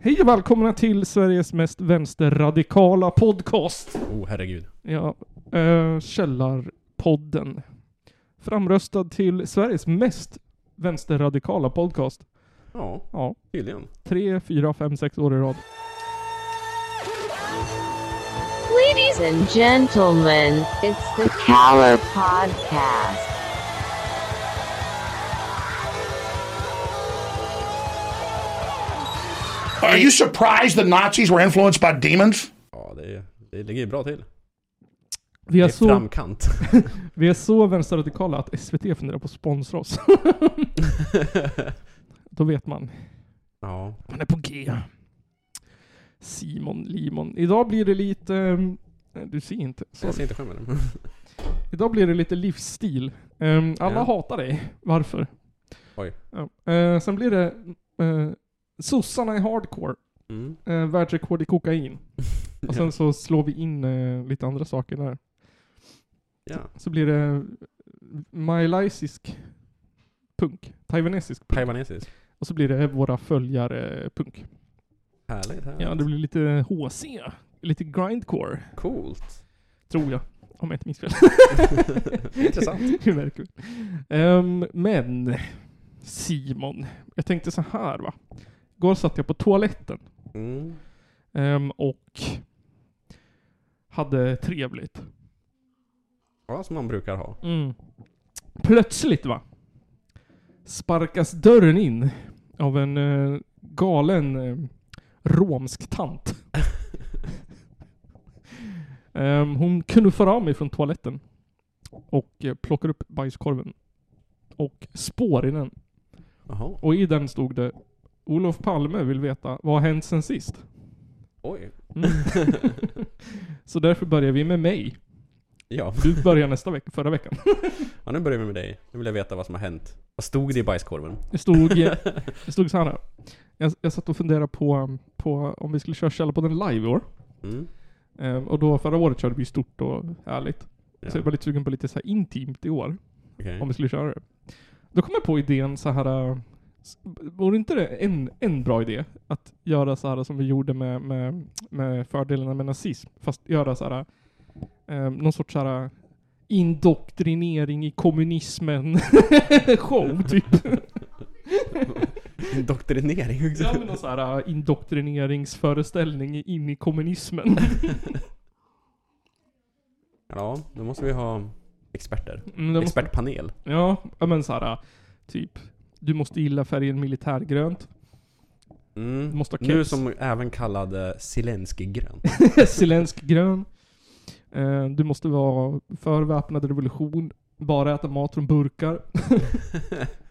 Hej och välkomna till Sveriges mest vänsterradikala podcast. Oh herregud. Ja, eh, Källarpodden. Framröstad till Sveriges mest vänsterradikala podcast. Ja, Ja, tydligen. tre, fyra, fem, sex år i rad. Ladies and gentlemen, it's the Caller Podcast. Are you surprised the Nazis were influenced by demons? Ja, det, det ligger ju bra till. Vi är, Det är så, framkant. vi är så vänsterradikala att SVT funderar på att sponsra oss. Då vet man. ja, Man är på G. Simon Limon. Idag blir det lite... ehm, Du ser inte. jag Sorry. ser inte skämmen. Idag blir det lite livsstil. Ehm, alla Ja. hatar dig. Varför? Oj. Ja. Eh, sen blir det uh, sossarna i hardcore. Mm. Uh, världsrekord i kokain. Och sen Ja. så slår vi in eh, lite andra saker där. ja. Så blir det malaysisk punk. Taiwanesisk punk. Taiwanesisk. Och så blir det våra följare punk. Härligt, härligt. Ja, det blir lite HC. Lite grindcore, Coolt. tror jag. Om jag inte minns fel. Intressant. Det verkar kul. Ehm, men, Simon. Jag tänkte så här va. Igår satt jag på toaletten. Mm. Ehm, och hade trevligt. Ja, som man brukar ha. Plötsligt va? Sparkas dörren in av en eh, galen eh, romsk tant. Ehm, hon knuffar av mig från toaletten och eh, plockar upp bajskorven och spår i den. Jaha. Och i den stod det Olof Palme vill veta vad har hänt sen sist? Oj. Mm. Så därför börjar vi med mig. Ja. Du börjar nästa vecka, förra veckan. ja, nu börjar vi med dig. Nu vill jag veta vad som har hänt. Vad stod det i bajskorven? Det stod, eh, det stod så här. Jag, jag satt och funderade på, um, på om vi skulle köra Källarpodden live i år. Mm. Ehm, och då förra året körde vi stort och härligt. Ja. Så jag var lite sugen på lite så här intimt i år, Okej. om vi skulle köra det. Då kom jag på idén så här. äh, s- Vore inte det en, en bra idé? Att göra så här som vi gjorde med, med, med fördelarna med nazism. Fast göra så här. ehm, någon sorts så här indoktrinering i kommunismen show typ. Indoktrinering också. Ja men någon sån här äh, indoktrineringsföreställning in i kommunismen. Ja, då måste vi ha experter. Mm, det måste, Expertpanel. ja, ja, men så här äh, typ. Du måste gilla färgen militärgrönt. Mm. Du måste ha Nu keps. som även kallad eh, Zelenskyj-grön. Zilensk grön. Eh, Du måste vara för väpnad revolution. Bara äta mat från burkar.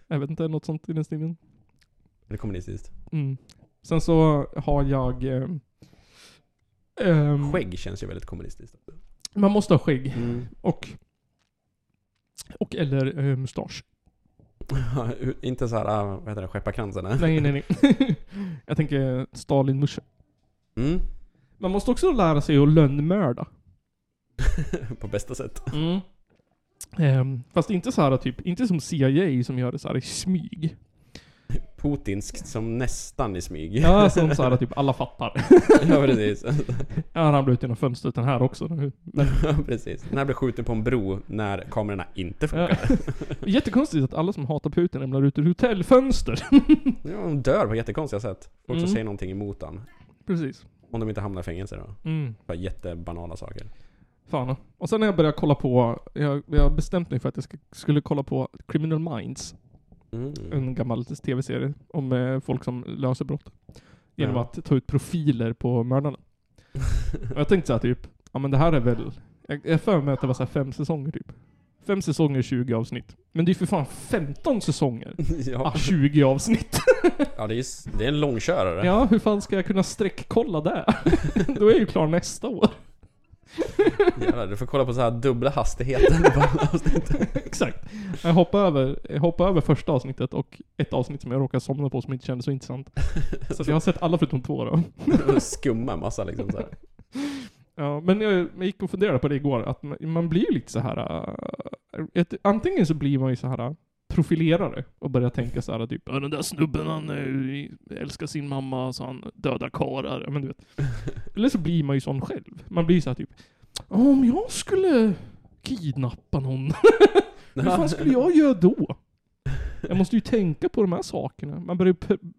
jag vet inte, något sånt i den stilen. Eller kommunistiskt. Mm. Sen så har jag... eh, ehm, Skägg känns ju väldigt kommunistiskt. Man måste ha skägg. Mm. Och... Och eller eh, mustasch. Inte såhär, ah, vad heter det, skepparkransen? eh? Nej, nej, nej. jag tänker stalin musche. Mm. Man måste också lära sig att lönnmörda. På bästa sätt. Ehm, fast inte så här typ, inte som CIA som gör det så här i smyg. Putinskt som nästan i smyg. Ja, som så här typ alla fattar. ja precis. Han ramlade ut genom fönstret den här också. nu. Ja, precis. Den här blev skjuten på en bro när kamerorna inte funkar. Ja. Jättekonstigt att alla som hatar Putin ramlar ut ur hotellfönster. Ja, de dör på jättekonstiga sätt. Folk som Mm. säger någonting emot han. Precis. Om de inte hamnar i fängelse då. Mm. Bara jättebanala saker. Fan. Och sen när jag började kolla på, jag, jag har bestämt mig för att jag ska, skulle kolla på Criminal Minds. Mm. en gammal tv-serie om eh, folk som löser brott. Genom Ja. att ta ut profiler på mördarna. Och jag tänkte såhär typ, ja men det här är väl... Jag jag har för mig att det var så här fem säsonger typ. Fem säsonger, 20 avsnitt. Men det är ju för fan 15 säsonger! ja. Ah, 20 avsnitt! ja, det är, s- det är en långkörare. Ja, hur fan ska jag kunna sträckkolla det? Då är jag ju klar nästa år. Jävlar, du får kolla på så här dubbla hastigheter på alla avsnitt. Exakt. Jag hoppade över, jag hoppade över första avsnittet och ett avsnitt som jag råkade somna på som inte kändes så intressant. Så att jag har sett alla förutom två då. Och Skumma en massa liksom så här. Ja, men jag, jag gick och funderade på det igår, att man, man blir ju lite så här. äh, ett, antingen så blir man ju så här äh, profilera det och börja tänka så här typ ja, den där snubben han eh, älskar sin mamma så han dödar karlar. Ja, men du vet. Eller så blir man ju sån själv. Man blir så här typ om jag skulle kidnappa någon, hur fan skulle jag göra då? Jag måste ju tänka på de här sakerna. Man börjar ju pe-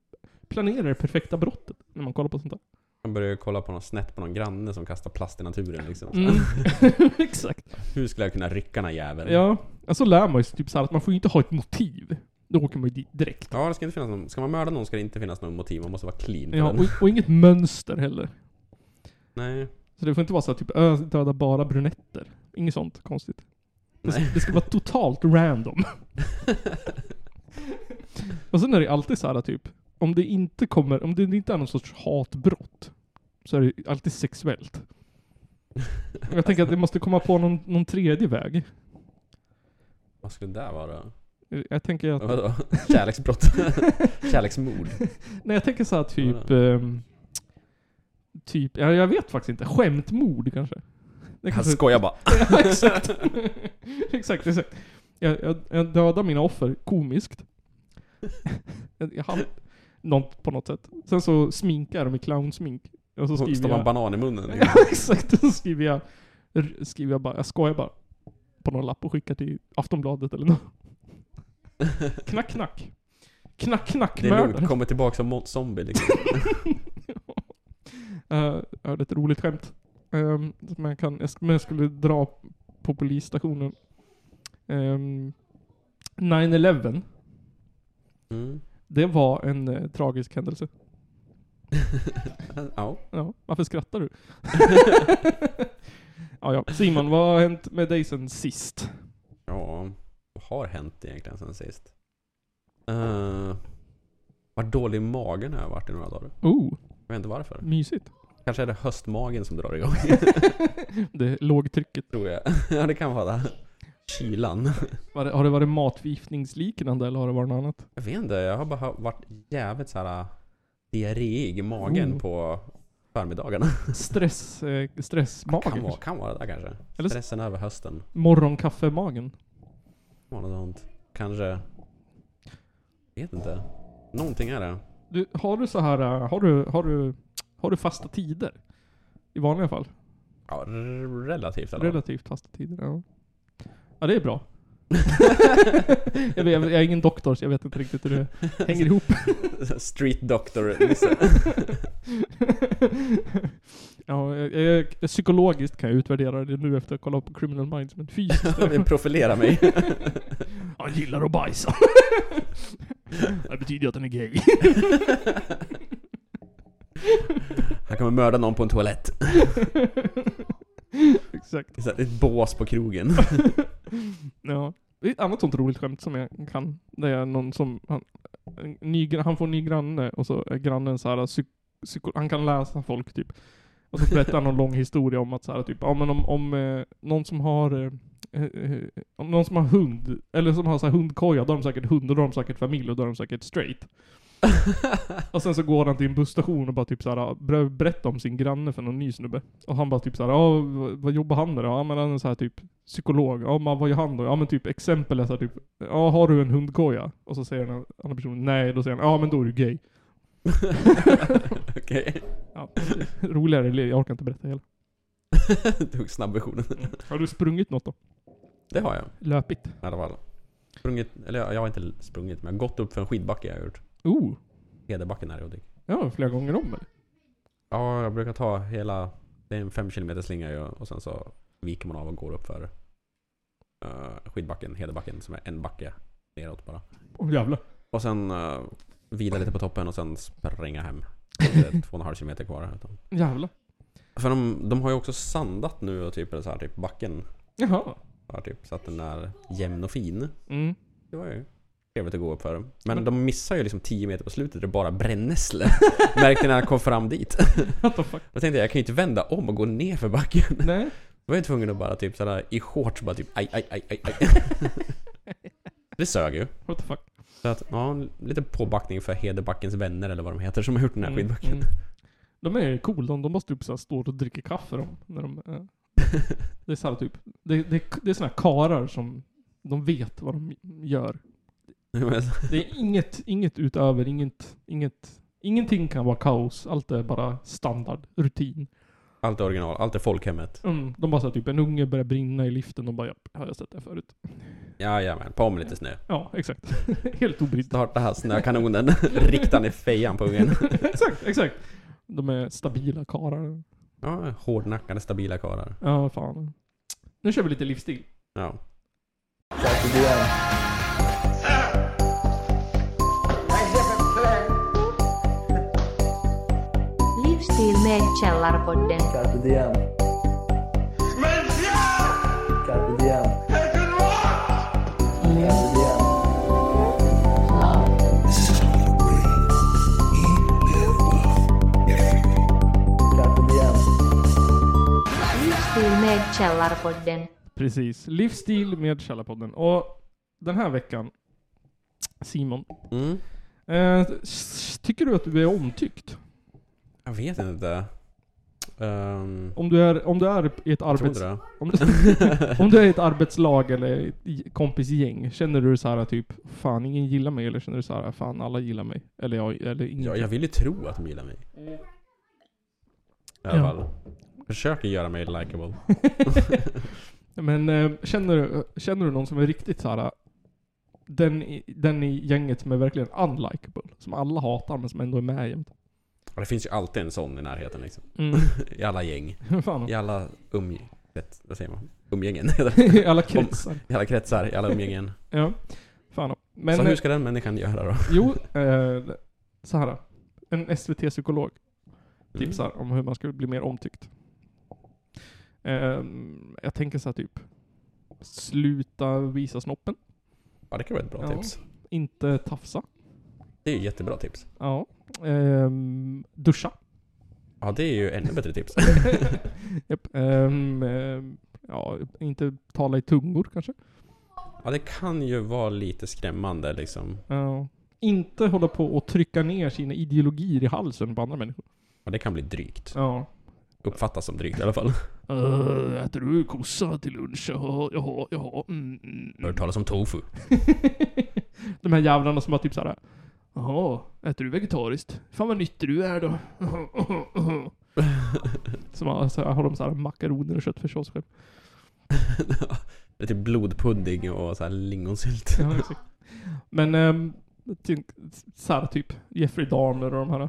planera det perfekta brottet när man kollar på sånt där. Man börjar ju kolla på någon snett på någon granne som kastar plast i naturen liksom. Så, Mm. Exakt. Hur skulle jag kunna rycka den här jäveln? Ja, alltså lär man ju sig typ så här att man får ju inte ha ett motiv. Då åker man ju dit direkt. Ja, det ska inte finnas någon... Ska man mörda någon ska det inte finnas något motiv. Man måste vara clean på Ja, den. och, och inget mönster heller. Nej. Så det får inte vara så här, typ ö, döda bara brunetter. Inget sånt konstigt. Det ska, Nej. det ska vara totalt random. och sen är det alltid så här typ, om det inte kommer, om det inte är någon sorts hatbrott, så är det alltid sexuellt. Jag tänker att det måste komma på någon, någon tredje väg. Vad skulle det där vara? Jag tänker att Vadå? Kärleksbrott? Kärleksmord? Nej, jag tänker så här typ... ehm, typ, ja, jag vet faktiskt inte. Skämtmord kanske? Det Han kanske skojar bara. ja, Alltså, exakt. exakt, exakt. Jag, jag, jag dödar mina offer komiskt. jag, jag hal- något, på något sätt. Sen så sminkar jag dem i clownsmink. Och så Så skriver står man jag... banan i munnen. Ja, exakt. Och så skriver jag... r- Skriver jag bara, jag skojar bara. På någon lapp och skickar till Aftonbladet eller något. Knack, knack. Knack, knack, Det är mördare. lugnt, kommer tillbaka som mo- zombie liksom. Eh, jag hörde ett roligt skämt. Um, som jag, kan, jag, sk- men jag skulle dra på polisstationen. Um, 9-11, Mm. det var en eh, tragisk händelse. Ja. Ja, varför skrattar du? ja, ja. Simon, vad har hänt med dig sen sist? Ja, vad har hänt egentligen sen sist? Uh, vad dålig i magen har jag varit i några dagar. Oh, Jag vet inte varför. mysigt. Kanske är det höstmagen som drar igång. Det är lågtrycket. Tror jag. ja, det kan vara det. Kylan. Var det, har det varit matförgiftningsliknande eller har det varit något annat? Jag vet inte, jag har bara ha- varit jävligt så här äh, diarréig i magen Oh. på förmiddagarna. Stress, eh, Kan stressmagen? vara, kan vara det där kanske. Eller så- Stressen över hösten. Morgonkaffemagen? Var något sånt. Kanske. Vet inte. Någonting är det. Du, har du så här, äh, har du, har du, har du fasta tider? I vanliga fall? Ja, r- relativt eller? Relativt fasta tider, ja. Ja, det är bra. jag, vet, jag är ingen doktor så jag vet inte riktigt hur det hänger ihop. Street doctor. ja, jag, jag, jag, psykologiskt kan jag utvärdera det nu efter att ha kollat på Criminal Minds, men fysiskt... Jag vill profilera mig. Han gillar att bajsa. det betyder ju att han är gay. Han kommer mörda någon på en toalett. Exakt. Det är så här, ett bås på krogen. Ja. Det är ett annat sånt roligt skämt som jag kan. Det är någon som, han, en ny, grann- han får en ny granne och så är grannen så här, psyk, psyko, han kan läsa folk typ. Och så berättar han någon lång historia om att så här, typ, ja men om, om eh, någon som har eh, eh, om någon som har hund, eller som har så här hundkoja, då har de säkert hund och då har de säkert familj och då är de säkert straight. och sen så går han till en busstation och bara typ såhär, börjar berätta om sin granne för någon ny snubbe. Och han bara typ såhär, ja vad- vad jobbar han med då? Ja men han är såhär typ psykolog. Ja men vad gör han då? Ja men typ exempel är såhär typ, ja har du en hundkoja? Och så säger den andra personen nej, då säger han, ja men då är du gay. Okej. Ja, roligare, eller jag orkar inte berätta hela. Tog snabbversionen. Har du sprungit något då? Det har jag. Löpigt? I alla fall. Sprungit, eller jag jag har inte sprungit men jag har gått upp för en skidbacke jag har gjort. Oh, Hederbacken här i Hudik. ja flera gånger om eller? Ja, jag brukar ta hela, det är en 5 km slinga ju, och sen så viker man av och går upp för eh, skidbacken, Hedebacken som är en backe neråt bara. Åh jävlar. Och sen eh, vila lite på toppen och sen springa hem. Det är två och en halv kilometer kvar. Utan. Jävlar. För de, de har ju också sandat nu och typ, så här, typ backen. Jaha. Har typ, så att den är jämn och fin. Mm. Det var ju trevligt att gå upp för. Men, Men- de missar ju liksom 10 meter på slutet och det är bara brännässlor. Märkte när jag kom fram dit. What the fuck? Då tänkte jag, jag kan ju inte vända om och gå ner för backen. Nej. Då var jag tvungen att bara typ sådär i shorts bara typ aj, aj, aj, aj, aj. Det sög ju. What the fuck? Så att, ja, en liten påbackning för Hedebackens vänner eller vad de heter som har gjort den här Mm, skidbacken. mm. De är ju coola, de, de måste typ såhär stå och dricka kaffe de, när de eh, Det är såhär typ, det, det, det är såna här karar som de vet vad de gör. Men- Det är inget, inget utöver, inget, inget, ingenting kan vara kaos. Allt är bara standard, rutin. Allt är original, allt är folkhemmet. Mm, de bara såhär typ en unge börjar brinna i liften och bara japp, har jag sett det här förut. Jajamän, på med lite snö. Ja, exakt. Helt obrydd. Starta här snökanonen, rikta ner fejan på ungen. exakt, exakt. De är stabila karlar. Ja, hårdnackade, stabila karlar. Ja, fan. Nu kör vi lite livsstil. Ja. Livsstil med Källarpodden. Carpe diem. Carpe diem. Carpe diem. Livsstil Carpe diem. med Källarpodden. Precis. Livsstil med Källarpodden. Och den här veckan, Simon. Mm. Eh, s- tycker du att du är omtyckt? Jag vet inte. Um, Om du är, om du är i ett tror arbets... inte det. Om du, om du är i ett arbetslag eller i ett i- kompisgäng, känner du så här typ Fan, ingen gillar mig? Eller känner du så här Fan, alla gillar mig? Eller jag, eller ingen Jag, jag vill ju tro att de gillar mig. I alla Ja. fall. Försöker göra mig likable. Men eh, känner, du- känner du någon som är riktigt så här den, i- den i gänget som är verkligen unlikable? Som alla hatar men som ändå är med jämt? Mm. Och Det finns ju alltid en sån i närheten liksom. I alla gäng. Fan. I alla umgängen. Vad säger man? Umgängen. I alla kretsar. I alla kretsar, i alla umgängen. Ja. Fan. Men, så hur eh, ska den människan göra då? Mm. jo, eh, så här. En SVT-psykolog tipsar Mm. om hur man ska bli mer omtyckt. Ehm, jag tänker så här typ. Sluta visa snoppen. Ja, det kan vara ett bra Ja. tips. Inte tafsa. Det är ju jättebra tips. Ja. Ehm, duscha. Ja, det är ju ännu bättre tips. Japp. Ehm, ehm, ja, inte tala i tungor kanske. Ja, det kan ju vara lite skrämmande liksom. Ja. inte hålla på och trycka ner sina ideologier i halsen på andra människor. Ja, det kan bli drygt. Ja. Uppfattas som drygt i alla fall. Uh, äter du kossa till lunch? Jaha, jaha, jaha. Mm, mm, Hör mm. du talas om tofu? De här jävlarna som har typ såhär. Jaha, äter du vegetariskt? Fan vad nyttig du är då. som har, så här, har de såhär makaroner och köttfärs åt sig själv. det är typ blodpudding och så här lingonsylt. Ja, exakt. Men um, såhär typ Jeffrey Dahmer och de här.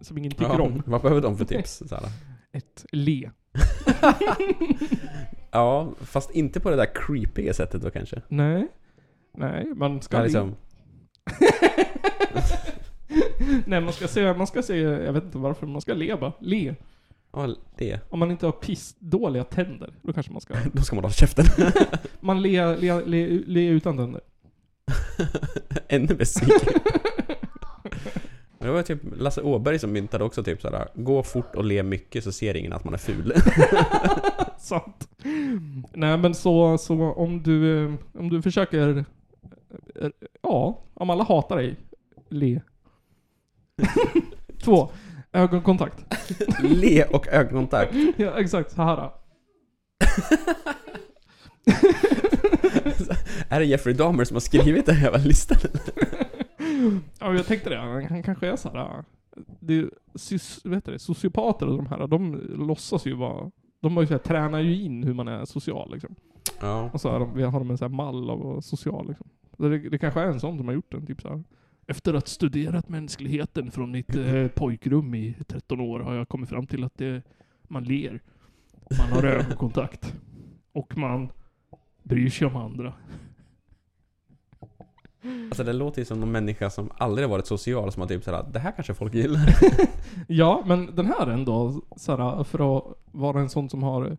Som ingen tycker Ja, om. Vad behöver de för tips? Så här. Ett le. Ja, fast inte på det där creepiga sättet då kanske. Nej. Nej, man ska... Ja, liksom, Nej, man ska se, man ska se, jag vet inte varför, men man ska le bara. Le. ja, det. Om man inte har pissdåliga tänder, då kanske man ska... Då ska man hålla käften. Man le, le, le, le utan tänder. Ännu besviken. Men Det var typ Lasse Åberg som myntade också typ såhär, gå fort och le mycket så ser ingen att man är ful. Sant. Nej, men så, så om du, eh, om du försöker... eh, Ja, om alla hatar dig, le. Två. Ögonkontakt. le och ögonkontakt. Ja, exakt. Så här. Är det Jeffrey Dahmer som har skrivit den här jävla listan? Ja, jag tänkte det. Han han kanske är så här. äh, Det, är sys, vad heter det? Sociopater och de här, de låtsas ju vara... De har ju så här, tränar ju in hur man är social liksom. Ja. Och så är de, vi har de en så här mall av att vara social liksom. Så det, det kanske är en sån som har gjort den, typ så här. Efter att studerat mänskligheten från mitt eh, pojkrum i 13 år har jag kommit fram till att det, man ler. Man har ögonkontakt. Och man bryr sig om andra. Alltså det låter ju som någon människa som aldrig har varit social som har typ såhär, det här kanske folk gillar. Ja, men den här ändå, såhär, för att vara en sån som har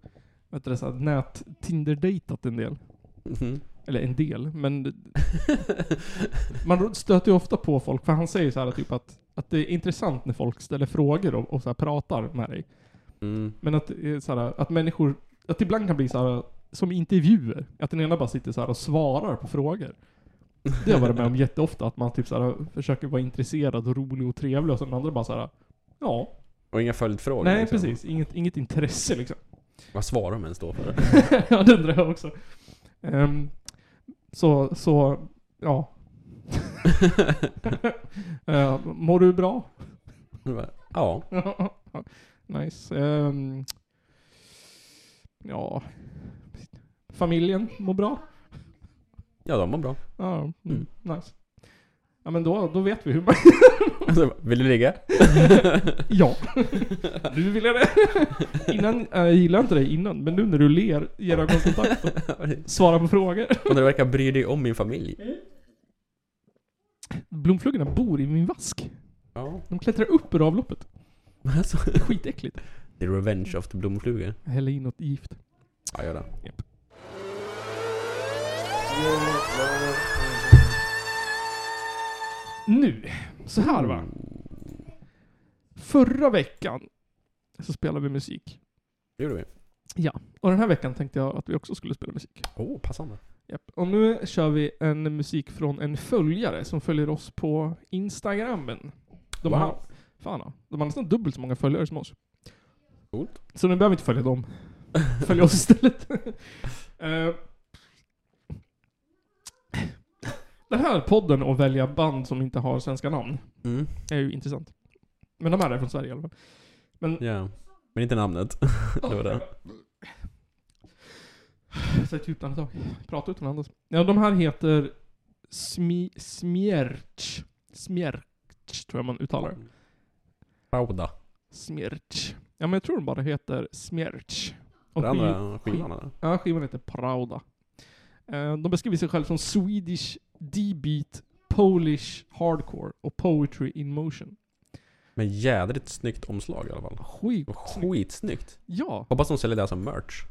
vet du, det, såhär, nät tinder dejtat en del. Mhm. Eller en del, men man stöter ju ofta på folk, för han säger så här typ att, att det är intressant när folk ställer frågor och, och så här, pratar med dig. Mm. Men att, det är så här, att människor, att det ibland kan bli så här som intervjuer. Att den ena bara sitter så här och svarar på frågor. Det har jag varit med om jätteofta, att man typ så här, försöker vara intresserad och rolig och trevlig och så den andra bara så här. ja. Och inga följdfrågor. Nej, liksom. precis. Inget, inget intresse liksom. Vad svarar de ens då för? ja, det undrar jag också. Ehm, så, så, ja. Eh, mår du bra? ja. nice. Ehm, ja. Familjen mår bra? ja, de mår bra. Ja, mm, Mm. nice. Ja men då, då vet vi hur man... Alltså, vill du ligga? ja. Du ville det. innan, eh, jag gillar inte dig innan, men nu när du ler, ger ögonkontakt och svarar på frågor. Och du verkar bry dig om min familj. Blomflugorna bor i min vask. Ja. De klättrar upp ur avloppet. Alltså, Skitäckligt. the revenge of the blomflugor. Häller i något gift. Ja, gör det. Nu, så här va. Förra veckan så spelade vi musik. Det gjorde vi. Och den här veckan tänkte jag att vi också skulle spela musik. Åh, oh, passande. Japp. Och nu kör vi en musik från en följare som följer oss på Instagrammen. De Wow. har, fan, ja. de har nästan dubbelt så många följare som oss. Coolt. Så nu behöver vi inte följa dem. Följ oss istället. Eh, den här podden och välja band som inte har svenska namn Mm. är ju intressant. Men de här är från Sverige i alla fall. Men Ja. Men inte namnet. det var det. Så ett djupt andetag. Prata utan att andas. Ja, de här heter Smi, Smierch. Smierch tror jag man uttalar det. Rauda. Smierch. Ja, men jag tror de bara heter Smierch. Och Den skiv- andra skivan eller? ja, skivan heter Prauda. Eh, De beskriver sig själva som Swedish D-beat, Polish hardcore och poetry in motion. Men jädrigt snyggt omslag i alla fall. Sjukt snyggt. Skitsnyggt. Ja, Hoppas de säljer det här som merch.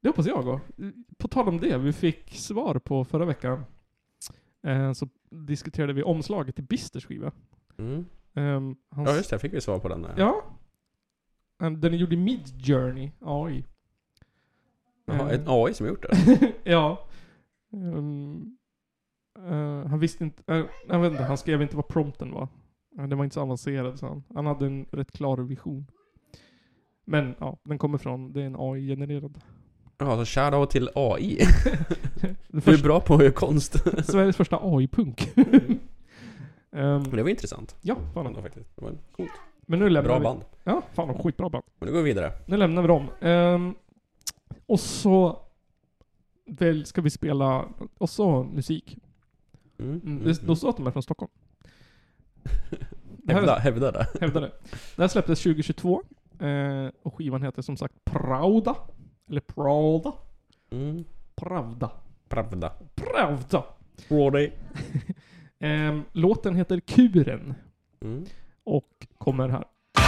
det hoppas jag också. På tal om det, vi fick svar på förra veckan. Eh, Så diskuterade vi omslaget till Bisters skiva. Mm. Ehm, hans, Ja just det, fick vi svar på den. där. Ja. Ehm, Den är gjord i Midjourney, AI. Jaha, Ehm, ett AI som har gjort det? ja. Ehm, eh, han visste inte, eh, jag vet inte, han skrev inte vad prompten var. Eh, Den var inte så avancerad så han. Han hade en rätt klar vision. Men ja, den kommer från, det är en AI-genererad. Ja, så shoutout till AI. Det Du är första- bra på konst. Sveriges första AI-punk. Ehm, Men det var intressant. ja, fan. Ändå, faktiskt. Det var coolt. Men nu lämnar Bra vi. band. Ja, fan de skitbra band. Men nu går vi vidare. Nu lämnar vi dem. Ehm, och så väl ska vi spela också musik. Mm. Mm, Mm. det- De sa att de är från Stockholm. Det här, Hävda, hävda det. hävdar det. Det här släpptes 2022. eh, och skivan heter som sagt Prauda. Eller Prauda. Mm. Pravda. Pravda. Pravda! Brody. Ehm, låten heter Kuren Mm. och kommer här.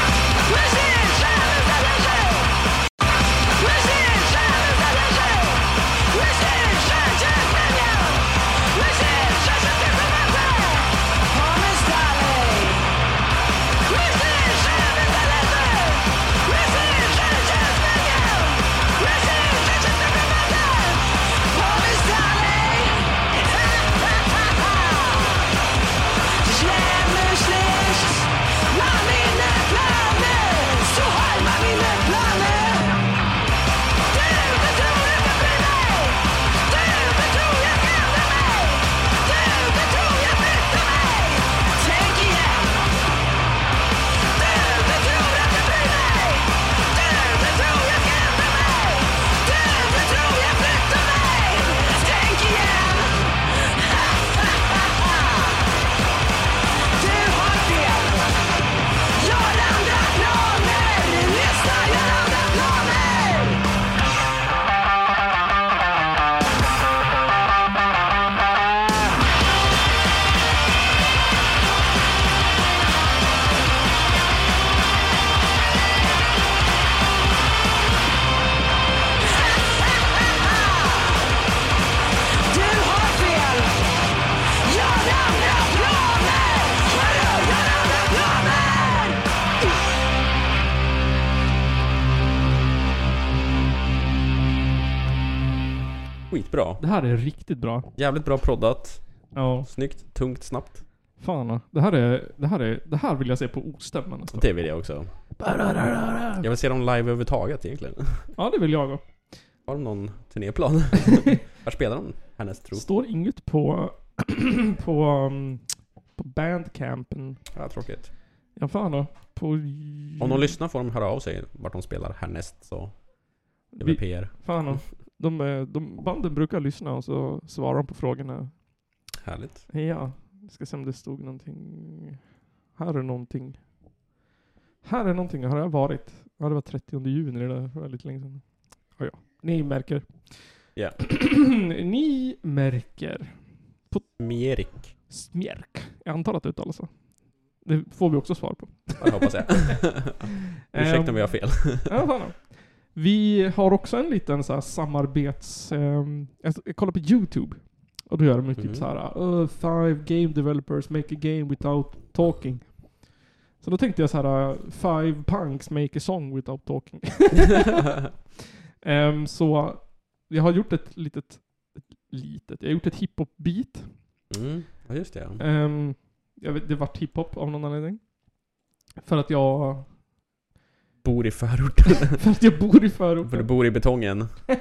Skitbra. Det här är riktigt bra. Jävligt bra proddat. Ja, Snyggt, tungt, snabbt. fan. Det här är, det här är, det här vill jag se på ostämman nästa. Det vill jag också. Jag vill se dem live överhuvudtaget egentligen. Ja, det vill jag också. Har de någon turnéplan? Var spelar de härnäst tro? Står inget på på, um, på bandcampen. Ja, tråkigt. Ja fan då. På... Om de lyssnar får de höra av sig vart de spelar härnäst så. Det blir Vi- PR. Fan då. De, eh, de, banden brukar lyssna och så svarar de på frågorna. Härligt. Ja, jag ska se om det stod någonting. Här är någonting. Här är någonting. Har jag varit? Ja, det var 30 juni. Det där var lite länge sedan. Ja, ja. Ni märker. Ja. Ni märker. Mierik. Smjärk. Jag antar att det uttalas så. alltså. Det får vi också svar på. Ehm, Jag hoppas jag. Ursäkta om vi har fel. Ja, fan. då. Vi har också en liten så här samarbets... ehm, jag, jag kollar på YouTube. Och då gör de ju typ Mhm. så här uh, Five game developers make a game without talking. Så då tänkte jag så här eh, Five punks make a song without talking. Ehm, så jag har gjort ett litet... Ett litet. Jag har gjort ett hiphop-beat. Mm. Ja, just det. ja. Ehm, jag vet, det vart hiphop av någon anledning. För att jag... Bor i förorten. För att jag bor i För du förorten. bor i betongen. Det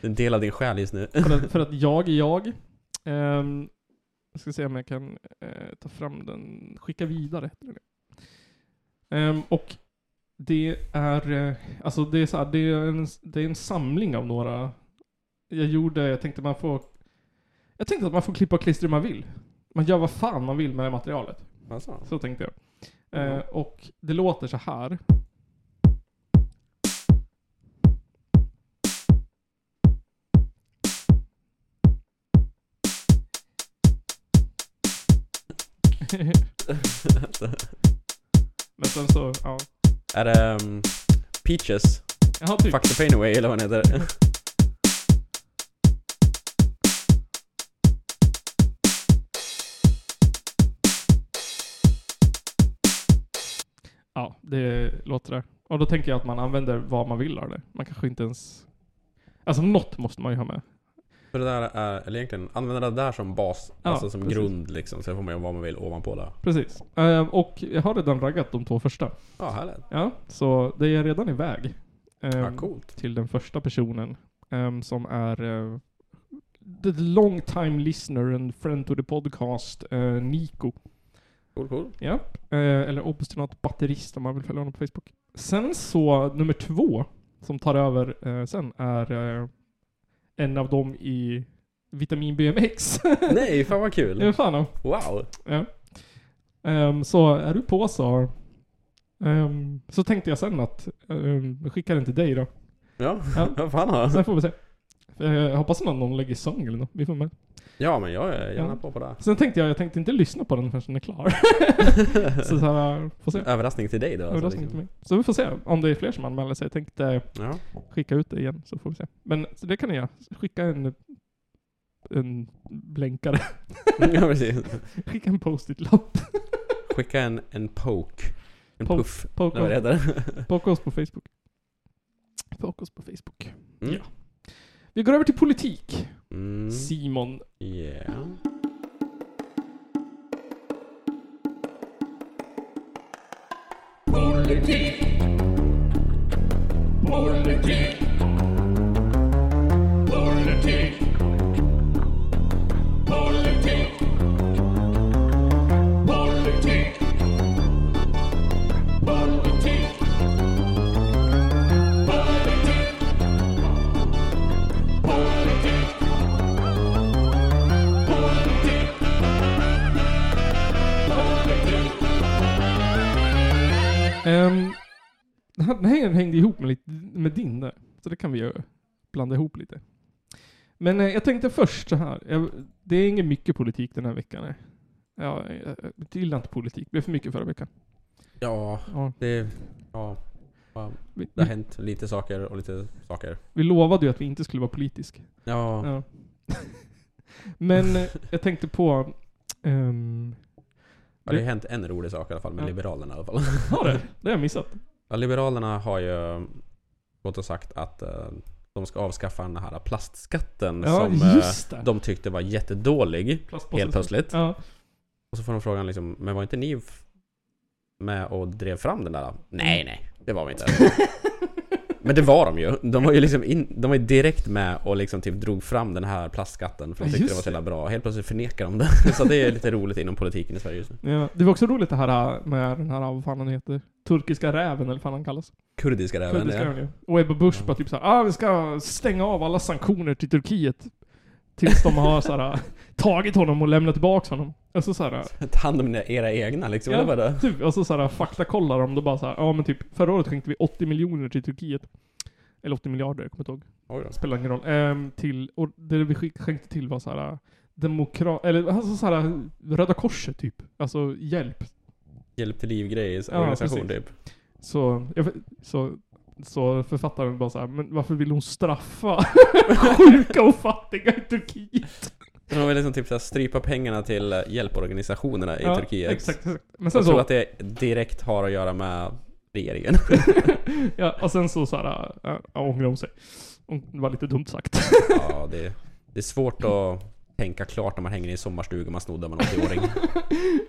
är En del av din själ just nu. För att, för att jag är jag. Ehm, jag ska se om jag kan eh, ta fram den, skicka vidare. heter det. Ehm, och det är, eh, alltså det är, så här, det, är en, det är en samling av några. Jag gjorde, jag tänkte man får, jag tänkte att man får klippa och klistra hur man vill. Man gör vad fan man vill med det materialet. Alltså. Så tänkte jag. Eh, och det låter så här. Men sen så, ja. Är det um, Peaches? Jaha, typ. Fuck the pain away eller vad den heter? Ja, det låter det. Och då tänker jag att man använder vad man vill av det. Man kanske inte ens... Alltså något måste man ju ha med. För det där är, eller egentligen, använda det där som bas, Ja, alltså som precis. grund liksom. Sen får man göra vad man vill ovanpå det. Precis. Eh, och jag har redan raggat de två första. Ja, härligt. Ja, så det är redan iväg. Eh, Ja, coolt. till den första personen ehm, som är eh, the long time listener and friend to the podcast, eh, Nico. Cool, cool. Ja. Eh, eller obstinat batterist om man vill följa honom på Facebook. Sen så, nummer två som tar över eh, sen är eh, en av dem i Vitamin BMX. Nej, fan vad Ja, kul. fan då. Wow. Ja. Ehm, så är du på så. ehm, så tänkte jag sen att um, jag skickar den till dig då. Ja, Ja. vad fan har Sen får vi se. Eh, Jag hoppas att någon lägger sång eller något. Vi får med. Ja, men jag är gärna Ja. på på det. Sen tänkte jag, jag tänkte inte lyssna på den förrän den är klar. så så här, får se. Överraskning till dig då. alltså, Överraskning till liksom. mig. Så vi får se om det är fler som anmäler sig. Jag tänkte Ja. skicka ut det igen så får vi se. Men så det kan ni göra. Skicka en, en blänkare. ja, precis. Skicka en post-it-lapp. Skicka en, en poke. En Poke. puff. Eller vad det Poka heter. poka oss på Facebook. Poka oss på Facebook. Mm. Ja. Vi går över till politik. Mm. Simon. Yeah. Ehm, den här- den här hängde ihop med, lite, med din där. Så det kan vi ju blanda ihop lite. Men eh, jag tänkte först så här. Jag, det är inget mycket politik den här veckan. nej. Ja, jag, jag gillar inte politik. Det blev för mycket förra veckan. Ja, Ja. det... Ja. Wow. Vi, Det har vi, hänt lite saker och lite saker. vi lovade ju att vi inte skulle vara politisk. Ja. Ja. Men eh, jag tänkte på... ehm, Ja, det har Det- hänt en rolig sak i alla fall med Ja. Liberalerna i alla fall. har det? Det har jag missat. Ja, Liberalerna har ju gått och sagt att eh, de ska avskaffa den här plastskatten Ja, som eh, just det. de tyckte var jättedålig Plastpåse. helt plötsligt. Ja. Och så får de frågan liksom, men var inte ni Mm. f- med och drev fram den där? Nej, nej, det var vi inte. Men det var de ju. De var ju liksom in, de var ju direkt med och liksom typ drog fram den här plastskatten för de tyckte Just det var så det. jävla bra. Helt plötsligt förnekar de det. Så det är lite roligt inom politiken i Sverige just nu. Ja, det var också roligt det här äh, med den här, vad fan han heter, turkiska räven eller vad fan han kallas. Kurdiska räven. Kurdiska Ja. räven ju. Och Ebba Busch bara typ såhär, ah vi ska stänga av alla sanktioner till Turkiet. Tills de har såhär, tagit honom och lämnat tillbaks honom. Alltså såhär, Ta hand om era egna liksom. Ja. eller vad Det var det. typ, och så såhär faktakollar de då bara såhär, ja men typ förra året skänkte vi 80 miljoner till Turkiet. Eller 80 miljarder, jag kommer inte ihåg. Oj då. Spelar ingen roll. Ehm, till, och det vi skick- skänkte till var såhär, demokrat, eller alltså såhär, Röda Korset typ. alltså hjälp. Hjälp till livgrejers Ja, organisation precis. typ. Så, jag, så, så författaren bara såhär, men varför vill hon straffa sjuka och fattiga i Turkiet? De vill liksom typ såhär strypa pengarna till eh, hjälporganisationerna i Ja, Turkiet. Exakt, exakt. Men sen Jag tror så, att det direkt har att göra med regeringen. ja, och sen så såhär, äh, ja, ångrar hon sig. Hon- Det var lite dumt sagt. Ja, det, det är svårt att tänka klart när man hänger i en sommarstuga och man snoddar med en 80-åring.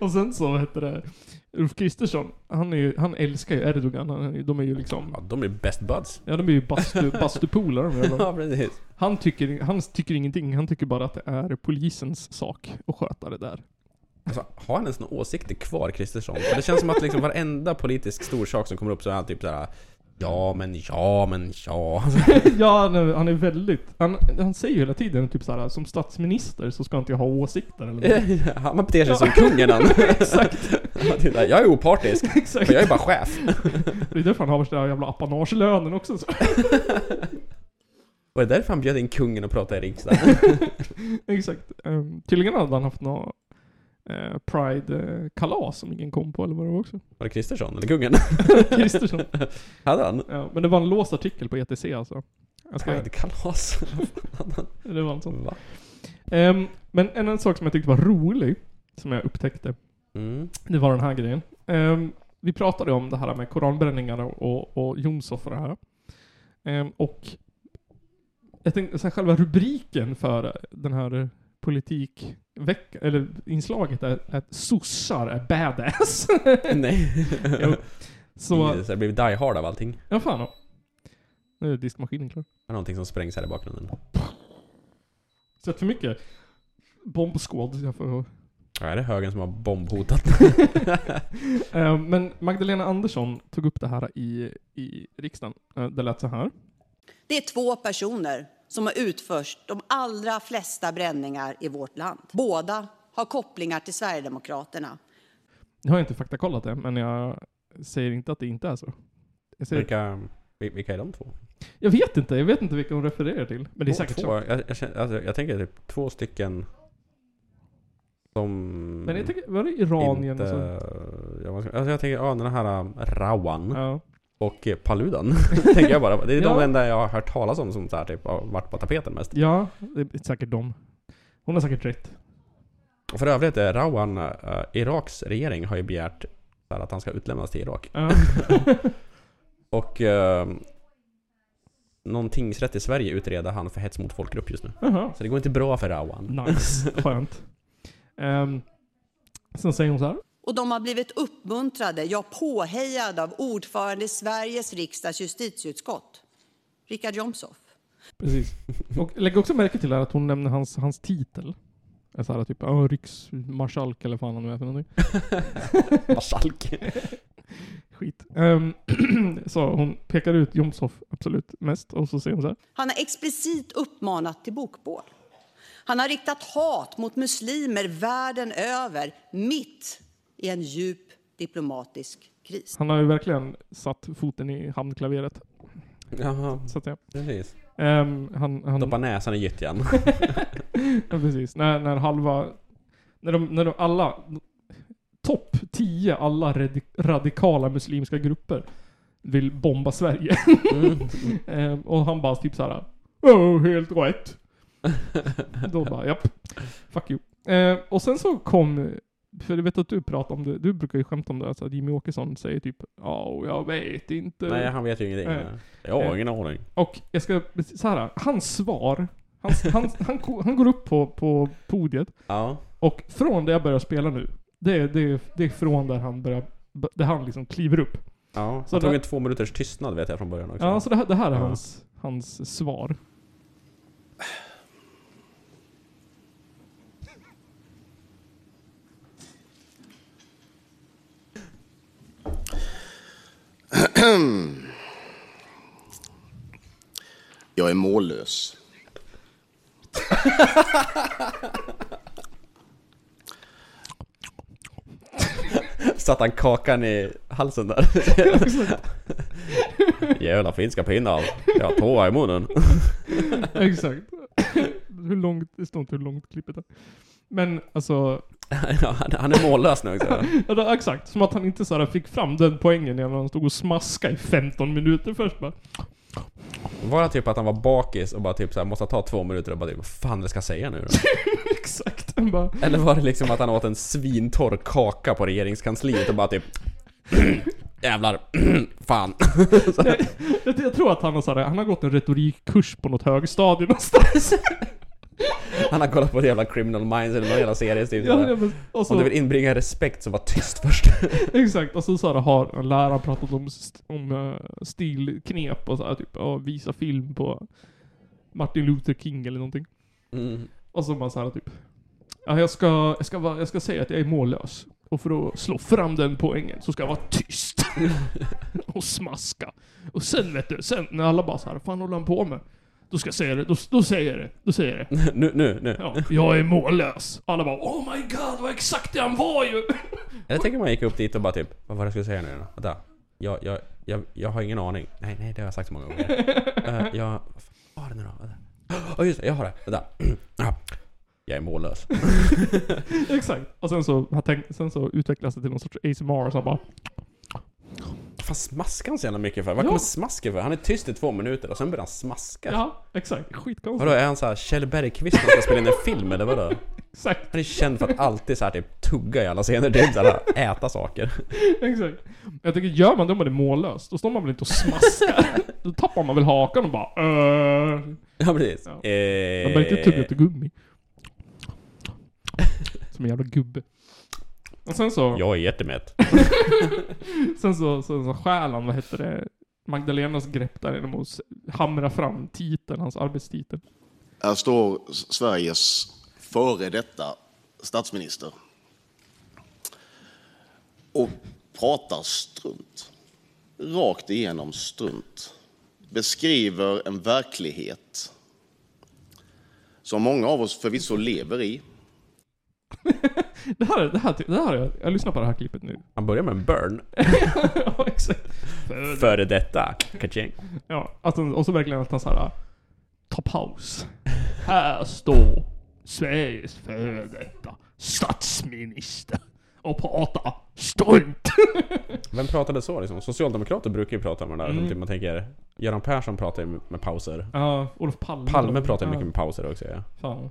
och sen så, vad heter det, Ulf Kristersson, han, är ju, han älskar ju Erdogan. Han, är- de är ju liksom, Ja, de blir best buds. ja de är ju bastu, bastupolare de jävlarna. Ja, precis. Han tycker, han tycker ingenting, han tycker bara att det är polisens sak att sköta det där. Alltså, har han ens några åsikter kvar, Kristersson? För det känns som att liksom varenda politisk stor sak som kommer upp så är han typ såhär Ja, men ja, men ja. ja, han är, han är väldigt... Han, han säger ju hela tiden typ såhär, som statsminister så ska inte jag ha åsikter eller något. Han beter sig som kungen han. Exakt, Han typ såhär, Jag är opartisk, exakt. för jag är bara chef. Det är därför han har värsta jävla apanagelönen också. Så. Och det är därför han bjöd in kungen och pratade i riksdagen. Exakt. Um, tydligen hade han haft något eh, Pride-kalas som ingen kom på eller vad det var också. Var det Kristersson eller kungen? Kristersson. Hade han? Ja, men det var en låst artikel på ETC alltså. Jag ska, Pride-kalas. det var en sån. Va? Ehm, men en, en sak som jag tyckte var rolig, som jag upptäckte, Mm. Det var den här grejen. Ehm, vi pratade om det här med koranbränningar och, och Jomshof och det här. Ehm, och jag tänkte, så här, själva rubriken för den här politikveckan, eller inslaget, är att sossar är badass. Nej. Eh. Jo. Så... Så, Det har blivit die hard av allting. ja fan då. Nu är diskmaskinen klar. Det är någonting som sprängs här i bakgrunden. Sett för mycket bombskåd. Jag får Ja, är det högen som har bombhotat? Eh, Men Magdalena Andersson tog upp det här i, i riksdagen. Eh, Det lät så här. Det är två personer som har utfört de allra flesta bränningar i vårt land. Båda har kopplingar till Sverigedemokraterna. Jag har inte faktakollat det, men jag säger inte att det inte är så. Jag, säger, Vilka, vil- vilka är de två? jag vet inte, jag vet inte vilka hon refererar till. Men det är Två- säkert två, så. Jag, jag, känner, alltså, jag tänker typ två stycken som... Men jag tänker, var det Iranien och inte... så? Ja, vad ska- alltså, jag tänker, ja den här äh, Rawan Ja. och eh, Paludan. tänker jag bara. Det är Ja. de enda jag har hört talas om som så här, typ, har varit på tapeten mest. ja, det är säkert dem. Hon har säkert rätt. Och för övrigt, eh, Rawan, eh, Iraks regering har ju begärt så här, att han ska utlämnas till Irak. Ja. Och eh, någon tingsrätt i Sverige utreder han för hets mot folkgrupp just nu. Jaha. Så det går inte bra för Rawan. Nice. Skönt. Ehm, sen säger hon så här. Och de har blivit uppmuntrade, ja påhejade av ordförande i Sveriges riksdags justitieutskott, Richard Jomshof. Precis. Och lägg också märke till här att hon nämner hans, hans titel. Eh, Så här, typ oh, riksmarskalk eller vad fan han nu är för någonting. Basalk. Skit. Ehm, så hon pekar ut Jomshof absolut mest och så säger hon så här. Han har explicit uppmanat till bokbål. Han har riktat hat mot muslimer världen över, mitt i en djup diplomatisk kris. Han har ju verkligen satt foten i hamnklaveret, Jaha, så att säga. precis. Ehm, han, han, Stoppa näsan i gyttjan. ja, precis. När, när halva... När de, när de alla... Topp 10 alla radi- radikala muslimska grupper vill bomba Sverige. Ehm, och han bara typ såhär... Åh, helt rätt. Då bara, japp. Fuck you. Ehm, och sen så kom... För jag vet att du pratar om det, du brukar ju skämta om det, alltså att Jimmy Åkesson säger typ Ja, jag vet inte. Nej, han vet ju ingenting. Nej. Jag har ingen aning. Och jag ska, så här, hans svar, han, han, han, ko- han går upp på, på podiet Ja. och från det jag börjar spela nu, det är, det är, det är från där han börjar, där han liksom kliver upp. Ja, Så han tog det- en två minuters tystnad vet jag från början också. Ja, så det här, det här är Ja. hans, hans svar. Jag är mållös. Satt han kakan i halsen där. Jävla finska pinnar. Jag har tårar i munnen. Exakt. hur långt, det står inte hur långt klippet är. Men alltså, ja, han, han är mållös nu också. ja, det- exakt. Som att han inte så här fick fram den poängen när han stod och smaskade i 15 minuter först bara. Var det typ att han var bakis och bara typ så här, måste ta två minuter och bara typ, vad fan det ska jag säga nu då? Exakt. Han bara, Eller var det liksom att han åt en svintorr kaka på regeringskansliet och bara typ Jävlar, fan. jag, jag tror att han har, så här, han har gått en retorikkurs på något högstadium någonstans. Han har kollat på jävla criminal minds eller någon jävla serie typ. ja, ja, men- och Om så, du vill inbringa respekt så var tyst först. exakt. Och så, så här, har läraren pratat om, st- om eh, stilknep och så här, typ ja, visa film på Martin Luther King eller någonting. Mm. Och så bara så här typ. Ja, jag ska, jag ska, vara, jag ska säga att jag är mållös. Och för att slå fram den poängen så ska jag vara tyst. och smaska. Och sen vet du, sen när alla bara så här, fan håller han på med? Då ska jag säga det, då, då säger jag det, då säger jag det. Nu, nu, nu. Ja, jag är mållös. Alla bara oh my god vad exakt det han var ju! Eller tänker man gick upp dit och bara typ, vad var det jag skulle säga nu då? Vänta. Jag, jag, jag, jag har ingen aning. Nej, nej, det har jag sagt så många gånger. Eh, jag... Vad fan var det nu då? Vänta. Åh just det, jag har det. Vänta. Ah, jag är mållös. exakt. Och sen så, han tänk, sen så utvecklas det till någon sorts ASMR så han bara Fan smaskar han så jävla mycket för? Vad Ja. kommer smasken för? Han är tyst i två minuter och sen börjar han smaska. ja, exakt. Vadå, Skitkonstigt. är han såhär Kjell Bergqvist som ska spela in en film eller vadå? Exakt, Han är känd för att alltid såhär typ tugga i alla scener, typ såhär äta saker. exakt. Jag tänker, gör man det om man är mållös, då står man väl inte och smaskar? då tappar man väl hakan och bara öh. Ja precis. Ja. Eh, Man bara inte tugga till gummi. Som en jävla gubbe. Och sen så... jag är jättemätt. Sen så, sen så stjäl han, vad heter det, Magdalenas grepp där genom att s- hamra fram titeln, hans arbetstitel. Här står S- Sveriges före detta statsminister och pratar strunt. Rakt igenom strunt. Beskriver en verklighet som många av oss förvisso lever i. Det här, är- det här, ty- det här, är- jag lyssnar på det här klippet nu. Han börjar med en burn. ja, exakt. Före detta. Kaching. Ja, att, han- och så verkligen att han såhär, ta paus. Här står Sveriges före detta statsminister och pratar strunt. Vem pratade så liksom? Socialdemokrater brukar ju prata om det där. som Typ man tänker, Göran Persson pratar ju med pauser. Mm. Ja, Olof Palme. Palme pratar ju Ja, mycket med pauser också ja. Fan.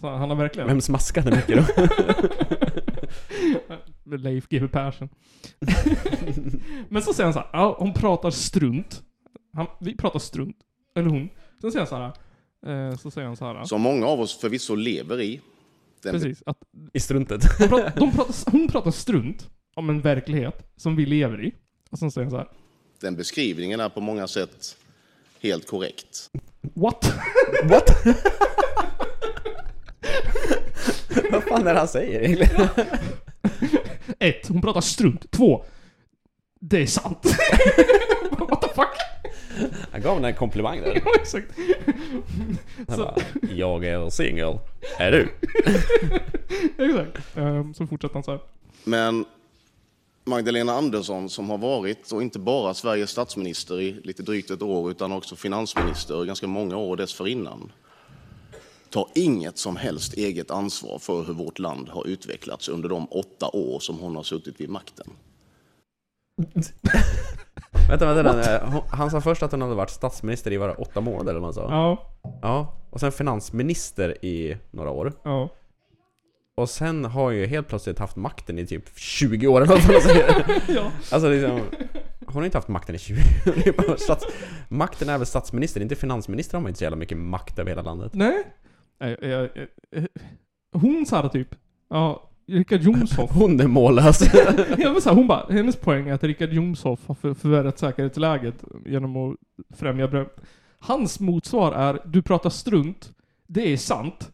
Så han har verkligen... Vem smaskade mycket då? med Leif GW Persson. Men så säger han så här, ja, hon pratar strunt. Han, vi pratar strunt. Eller hon. Sen säger han så här, eh, så säger han så här. Som många av oss förvisso lever i. Den Precis. Att I struntet. de pratar, de pratar, hon pratar strunt om en verklighet som vi lever i. Och sen säger han så här, Den beskrivningen är på många sätt helt korrekt. what? What? Vad fan är det han säger egentligen? Ett, Hon pratar strunt. Två, Det är sant. What the fuck? Han gav henne en komplimang där. Ja, Exakt. Han Så- bara, jag är singel. Är du? Exakt. Eh, Så fortsätter han så här. Men Magdalena Andersson som har varit, och inte bara Sveriges statsminister i lite drygt ett år, utan också finansminister i ganska många år dessförinnan, tar inget som helst eget ansvar för hur vårt land har utvecklats under de åtta år som hon har suttit vid makten. Vänta, vänta, vänta. Hon- Han sa först att hon hade varit statsminister i bara åtta månader eller vad han sa. Ja, Ja. Och sen finansminister i några år. ja. Och sen har ju helt plötsligt haft makten i typ 20 år eller något sånt. säger. Ja. Alltså liksom, hon har inte haft makten i 20 år. Det är bara stats- Makten är väl statsminister, inte finansminister har man inte så jävla mycket makt över hela landet. eh, Nej. Nej, jag, jag, jag, hon sa det typ. Ja, Richard Jomshof Hon är mållös. Ja, men så här, hon bara, hennes poäng är att Richard Jomshof har för- förvärrat säkerhetsläget genom att främja bröm. Hans motsvar är, du pratar strunt, det är sant,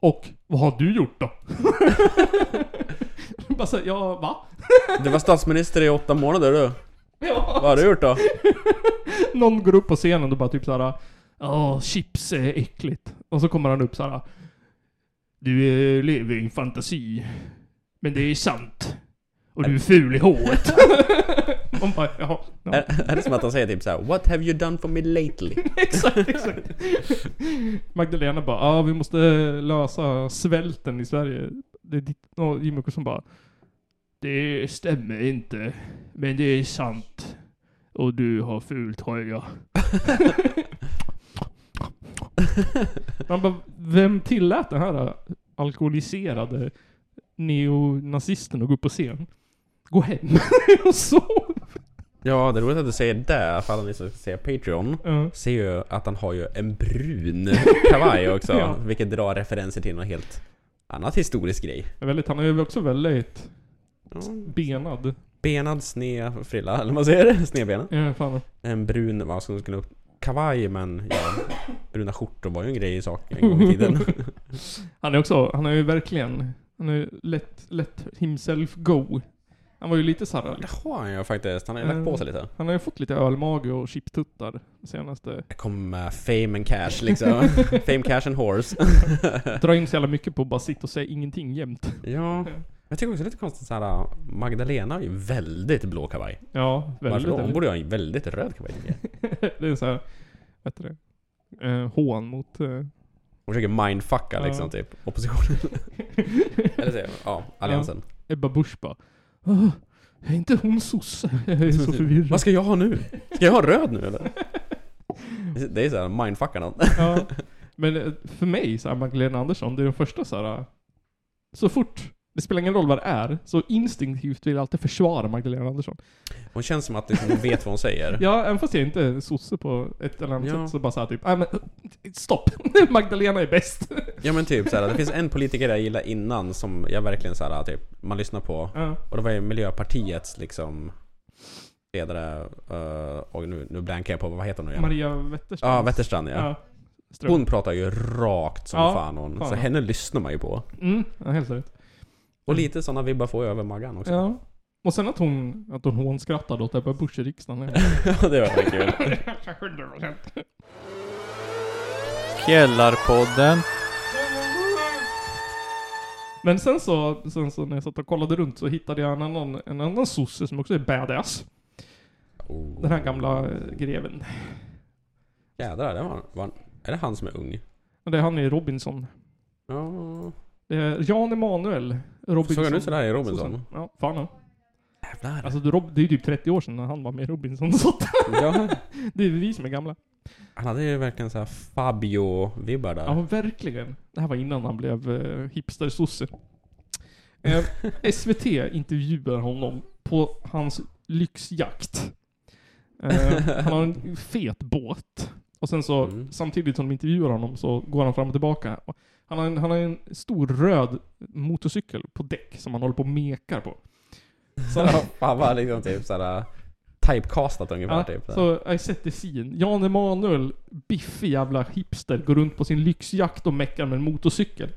och vad har du gjort då? bara så här, ja, va? Du var statsminister i åtta månader du. Ja. Vad har du gjort då? Någon går upp på scenen och bara typ såhär, ja, chips är äckligt. Och så kommer han upp såhär, du eh, lever i en fantasi, men det är sant. Och du är ful i håret. Man bara, jaha. Ja. Är, är det som att han säger typ såhär What have you done for me lately? exakt, exakt. Magdalena bara, ja ah, vi måste lösa svälten i Sverige. Det är ditt, och Jimmie Åkesson bara, det stämmer inte, men det är sant. Och du har ful tröja. Man bara, vem tillät den här alkoholiserade neonazisten att gå upp på scen? Gå hem och sov. Ja, det är roligt att du säger det, för alla ni som ska se Patreon Ja. ser ju att han har ju en brun kavaj också, Ja. vilket drar referenser till något helt annat historisk grej. Väldigt, han är ju också väldigt Ja, benad. Benad sned frilla, eller vad säger du? Snedbena. Ja, fan. En brun, vad skulle skulle kavaj men ja, bruna skjortor var ju en grej i sak en gång i tiden. Han är också, han är ju verkligen, han är ju lätt, lätt himself go. Han var ju lite såhär, Det har han ju faktiskt, han har ju lagt Mm. på sig lite. han har ju fått lite ölmage och chiptuttar senaste. Jag kom med fame and cash liksom. fame, cash and horse. Drar in så jävla mycket på att bara sitta och säga ingenting jämt. ja. Jag tycker också det är lite konstigt såhär, Magdalena har ju väldigt blå kavaj. Ja, väldigt. Varför då? Hon väldigt. borde ju ha en väldigt röd kavaj tycker jag. Det är såhär, vet du det? Eh, hån mot... Eh, Hon försöker mindfucka Ja. liksom typ oppositionen. Eller så, ja, alliansen. Ebba Busch bara, "Åh, är inte hon sosse? Jag är så förvirrad. Vad ska jag ha nu? Ska jag ha röd nu eller? Det är såhär mindfucka någon. Ja. Men eh, för mig, så här, Magdalena Andersson, det är den första så här. Så fort, det spelar ingen roll vad det är, så instinktivt vill jag alltid försvara Magdalena Andersson. Hon känns som att liksom, hon vet vad hon säger. Ja, även fast jag inte är sosse på ett eller annat Ja. sätt, så bara såhär typ, nej men eh, stopp, Magdalena är bäst. Ja men typ såhär, det finns en politiker jag gillade innan som jag verkligen såhär typ, man lyssnar på. Ja. Och det var ju Miljöpartiets liksom ledare, eh, och nu, nu blankar jag på, vad heter hon nu igen? Maria Wetterstrand. Ja, Wetterstrand ja. Ja. Ström. Hon pratar ju rakt som Ja, fan hon. fan. Så henne lyssnar man ju på. Mm, ja, helt rätt. Och Mm. lite sådana vibbar får jag över Maggan också. Ja. Och sen att hon, att hon hånskrattade åt Ebba Busch i riksdagen. Ja, det var kul. Källarpodden. Men sen så, sen så när jag satt och kollade runt så hittade jag en annan, en annan sosse som också är badass. Oh, Den här gamla eh, greven. Jädrar, det var, var, är det han som är ung? Och Det är han i Robinson. Ja. Det är Jan Emanuel Robinson. Såg han ut sådär i Robinson? Sossen. Ja, fan ja. Jävlar. Alltså du, Rob- det är ju typ 30 år sedan när han var med i Robinson. Så att ja, det är vi som är gamla. han hade ju verkligen såhär Fabio-vibbar där. Ja, men verkligen. Det här var innan han blev eh, hipstersosse. Eh, SVT intervjuar honom på hans lyxjakt. Eh, han har en fet båt. Och sen så, Mm. samtidigt som de intervjuar honom så går han fram och tillbaka. Och Han har en, han har en stor röd motorcykel på däck som han håller på och mekar på. Så han, Han var liksom typ såhär typecastat ungefär Ja, typ. så I set the scene. Jan Emanuel, biffig jävla hipster, går runt på sin lyxjakt och meckar med en motorcykel.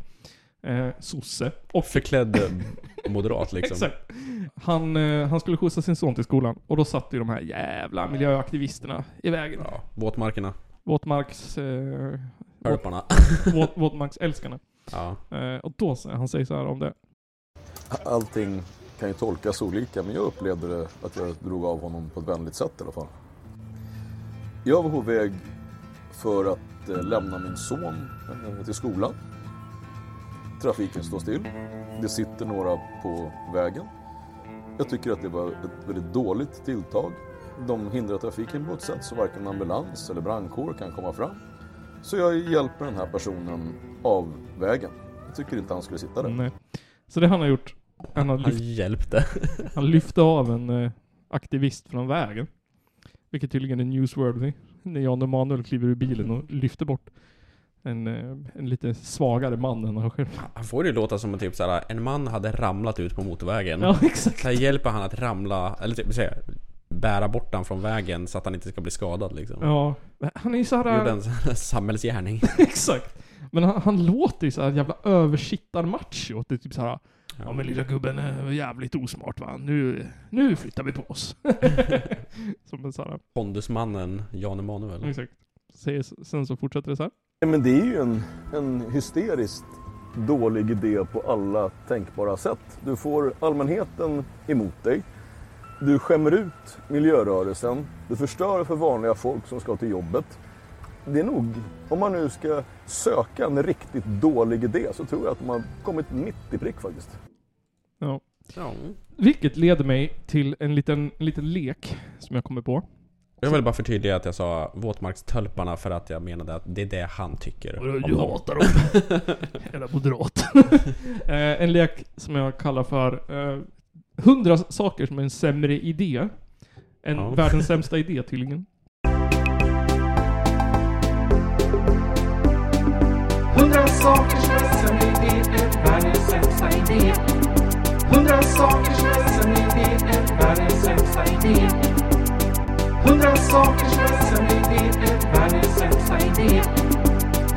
Eh, sosse. Och Förklädd äh, moderat liksom. Exakt. Han, eh, han skulle skjutsa sin son till skolan och då satt ju de här jävla miljöaktivisterna i vägen. Ja, våtmarkerna, Våtmarks... Eh, hörparna. våt, våtmarksälskarna. Ja. Eh, och då säger han säger så här om det. Allting kan ju tolkas olika, men jag upplevde det att jag drog av honom på ett vänligt sätt i alla fall. Jag var på väg för att eh, lämna min son eh, till skolan. Trafiken står still. Det sitter några på vägen. Jag tycker att det var ett väldigt dåligt tilltag. De hindrar trafiken på ett sätt så varken ambulans eller brandkår kan komma fram. Så jag hjälper den här personen av vägen. Jag tycker inte han skulle sitta där. Nej. eh, Så det han har gjort, han, har Han lyft, hjälpte. han lyfte av en eh, aktivist från vägen. Vilket tydligen är newsworthy. När Jan Emanuel kliver ur bilen och lyfter bort. en, eh, en lite svagare man än han själv. Han får det ju låta som att typ såhär, en man hade ramlat ut på motorvägen. Ja, exakt. Så här hjälper han att ramla, eller typ säga, bära bort han från vägen så att han inte ska bli skadad liksom. Ja, han är ju så här... Gjorde en sån här samhällsgärning. Exakt. Men han, han låter ju så här jävla översittarmacho. Det är typ så här. Ja men lilla gubben är jävligt osmart va. Nu, nu flyttar vi på oss. Som en sån här. Pondusmannen Jan Emanuel. Exakt. Säger- Sen så fortsätter det så här. Ja, Men det är ju en, en hysteriskt dålig idé på alla tänkbara sätt. Du får allmänheten emot dig. Du skämmer ut miljörörelsen. Du förstör för vanliga folk som ska till jobbet. Det är nog, om man nu ska söka en riktigt dålig idé så tror jag att man kommit mitt i prick faktiskt. Ja. Ja. Vilket leder mig till en liten, en liten lek som jag kommer på. Jag vill bara förtydliga att jag sa våtmarkstölparna för att jag menade att det är det han tycker. om Du dem. hatar dem. Hela moderat. eh, en lek som jag kallar för eh, 100 saker som är en sämre idé. än Ja. världens sämsta idé tydligen. 100 saker som är en idé är världens sämsta idé. 100 saker som är en idé är världens sämsta idé. 100 saker som är en idé är världens sämsta idé.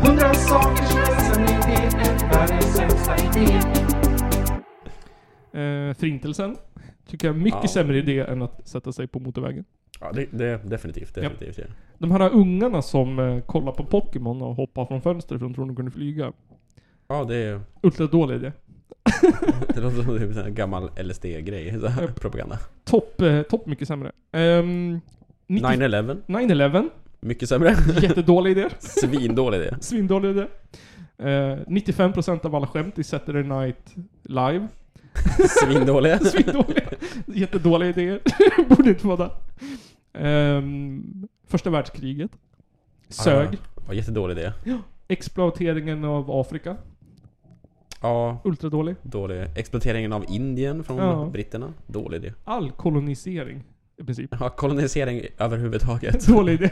100 saker som är en idé är världens sämsta idé. Eh, förintelsen. Tycker jag är mycket Ja. sämre idé än att sätta sig på motorvägen. Ja, det, det definitivt. definitivt ja. De här ungarna som eh, kollar på Pokémon och hoppar från fönstret för de tror de kunde flyga. ja, det är Ultra dålig idé. Det låter som typ en gammal LSD-grej. så här, Propaganda. Topp, eh, topp mycket sämre. Ehm, 90 9-11. 9-11. Mycket sämre. Jättedålig idé. Svindålig idé. Svindålig idé. Eh, 95% av alla skämt i Saturday Night Live. Svindålig. Svindåliga. Jättedåliga idéer. Borde inte vara där. Ehm, första världskriget. Sög. Ah, Ja, jättedålig idé. Exploateringen av Afrika. Ja, Ultradålig. dålig. Exploateringen av Indien från Ja. britterna. Dålig idé. All kolonisering i princip. Ja, kolonisering överhuvudtaget. Dålig idé.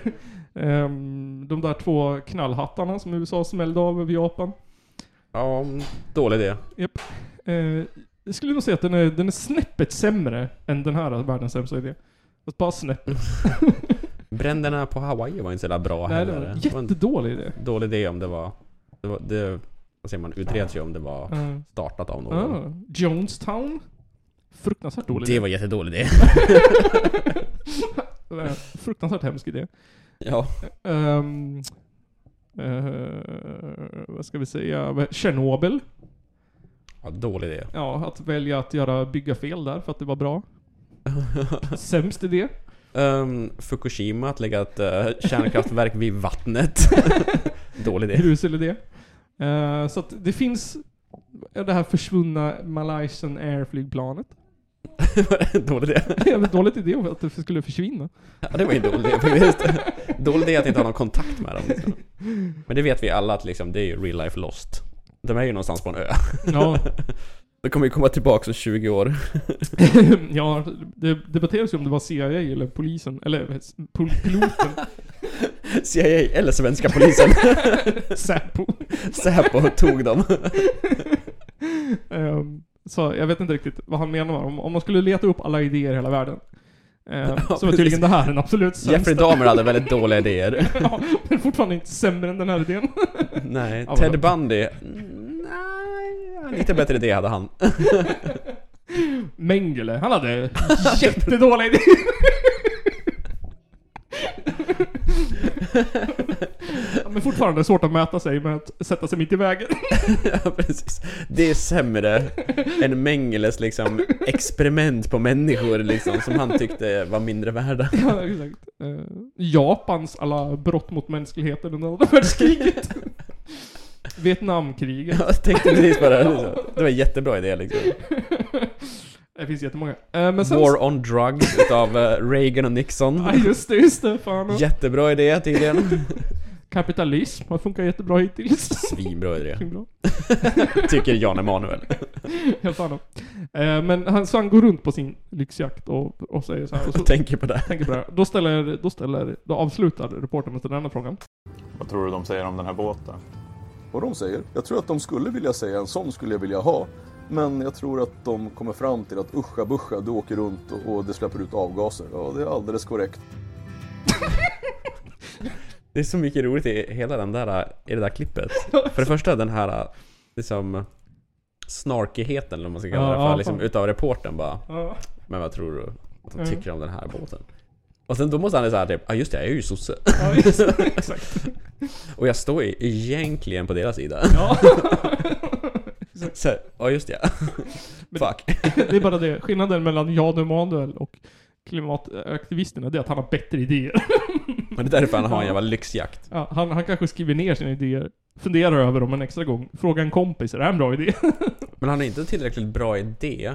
Ehm, de där två knallhattarna som USA smällde av över Japan. Ja, dålig idé. Japp. Eh, jag skulle nog säga att den är, den är snäppet sämre än den här världens sämsta idé. Fast bara snäppet. Bränderna på Hawaii var inte så jävla bra Nej, det heller. var en Det var en jättedålig idé. dålig idé om det var... Det, var, det vad säger man? Utreds ju om det var Eh, startat av någon. ah, Jonestown. Fruktansvärt dålig Det idé. var jättedålig idé. Eh, Fruktansvärt hemsk idé. Ja. Ehm, eh, vad ska vi säga? Tjernobyl. ja, dålig idé. Ja, att välja att göra, bygga fel där för att det var bra. Sämst idé. Ehm, Fukushima, att lägga ett eh, kärnkraftverk vid vattnet. Dålig idé. Grusel idé. Eh, så att det finns det här försvunna Malaysian Air-flygplanet. dålig idé. Jävligt dåligt idé för att det skulle försvinna. Ja, det var ju en dålig idé faktiskt. Dålig idé att inte ha någon kontakt med dem. liksom. Men det vet vi alla att liksom, det är ju real life lost. De är ju någonstans på en ö. Ja, De kommer ju komma tillbaka om 20 år. ja det debatteras ju om det var CIA eller polisen, eller s- pol piloten, CIA eller svenska polisen. Säpo. Säpo tog dem. Ehm, så jag vet inte riktigt vad han menar. Om, om man skulle leta upp alla idéer i hela världen. ehm, så var tydligen precis. det här den absolut sämsta. Jeffrey Dahmer hade väldigt dåliga idéer. ja, men fortfarande inte sämre än den här idén. Nej, vad Ted bra. Bundy. mm, Nej, lite bättre idé hade han. Mengele, han hade jättedåliga idéer. Ja, Men fortfarande svårt att mäta sig med att sätta sig mitt i vägen. Ja, precis. Det är sämre än Mengeles liksom experiment på människor liksom, som han tyckte var mindre värda. Ja, exakt. Eh, Japans alla brott mot mänskligheten under andra världskriget. Vietnamkriget. Jag tänkte precis på det. här, Liksom. Det var en jättebra idé liksom. Det finns jättemånga. Eh, Men sen... War on drugs utav eh, Reagan och Nixon. Ja, just det, just det. Fan. Jättebra idé tydligen. Kapitalism har funkat jättebra hittills. Svinbra idé, Bra. tycker Jan Emanuel. Helt annan. Eh, Men han, så han går runt på sin lyxjakt och, och säger så här. Och så, Jag tänker på det. tänker på det här. Då ställer, då ställer, då avslutar reportern med den andra frågan. Vad tror du de säger om den här båten? vad de säger. Jag tror att de skulle vilja säga en sån skulle jag vilja ha. Men jag tror att de kommer fram till att uscha buscha, du åker runt och, och det släpper ut avgaser. Ja, det är alldeles korrekt. Det är så mycket roligt i hela den där, i det där klippet. För det första den här liksom snarkigheten eller vad man ska kalla det Ja, för, ja, liksom, fan. Mm. utav reportern bara. Ja. Men vad tror du att de tycker om den här båten? Och sen då måste han säga typ, ja ah, just det, jag är ju sosse. Exakt. Och jag står ju egentligen på deras sida. Ja. Så, här, ja just det. Fuck. Det är bara det. Skillnaden mellan Jan Emanuel och klimataktivisterna det är att han har bättre idéer. Men det är därför han har en jävla lyxjakt. Ja, han, han kanske skriver ner sina idéer, funderar över dem en extra gång, frågar en kompis, är det här en bra idé? Men han har inte tillräckligt bra idé.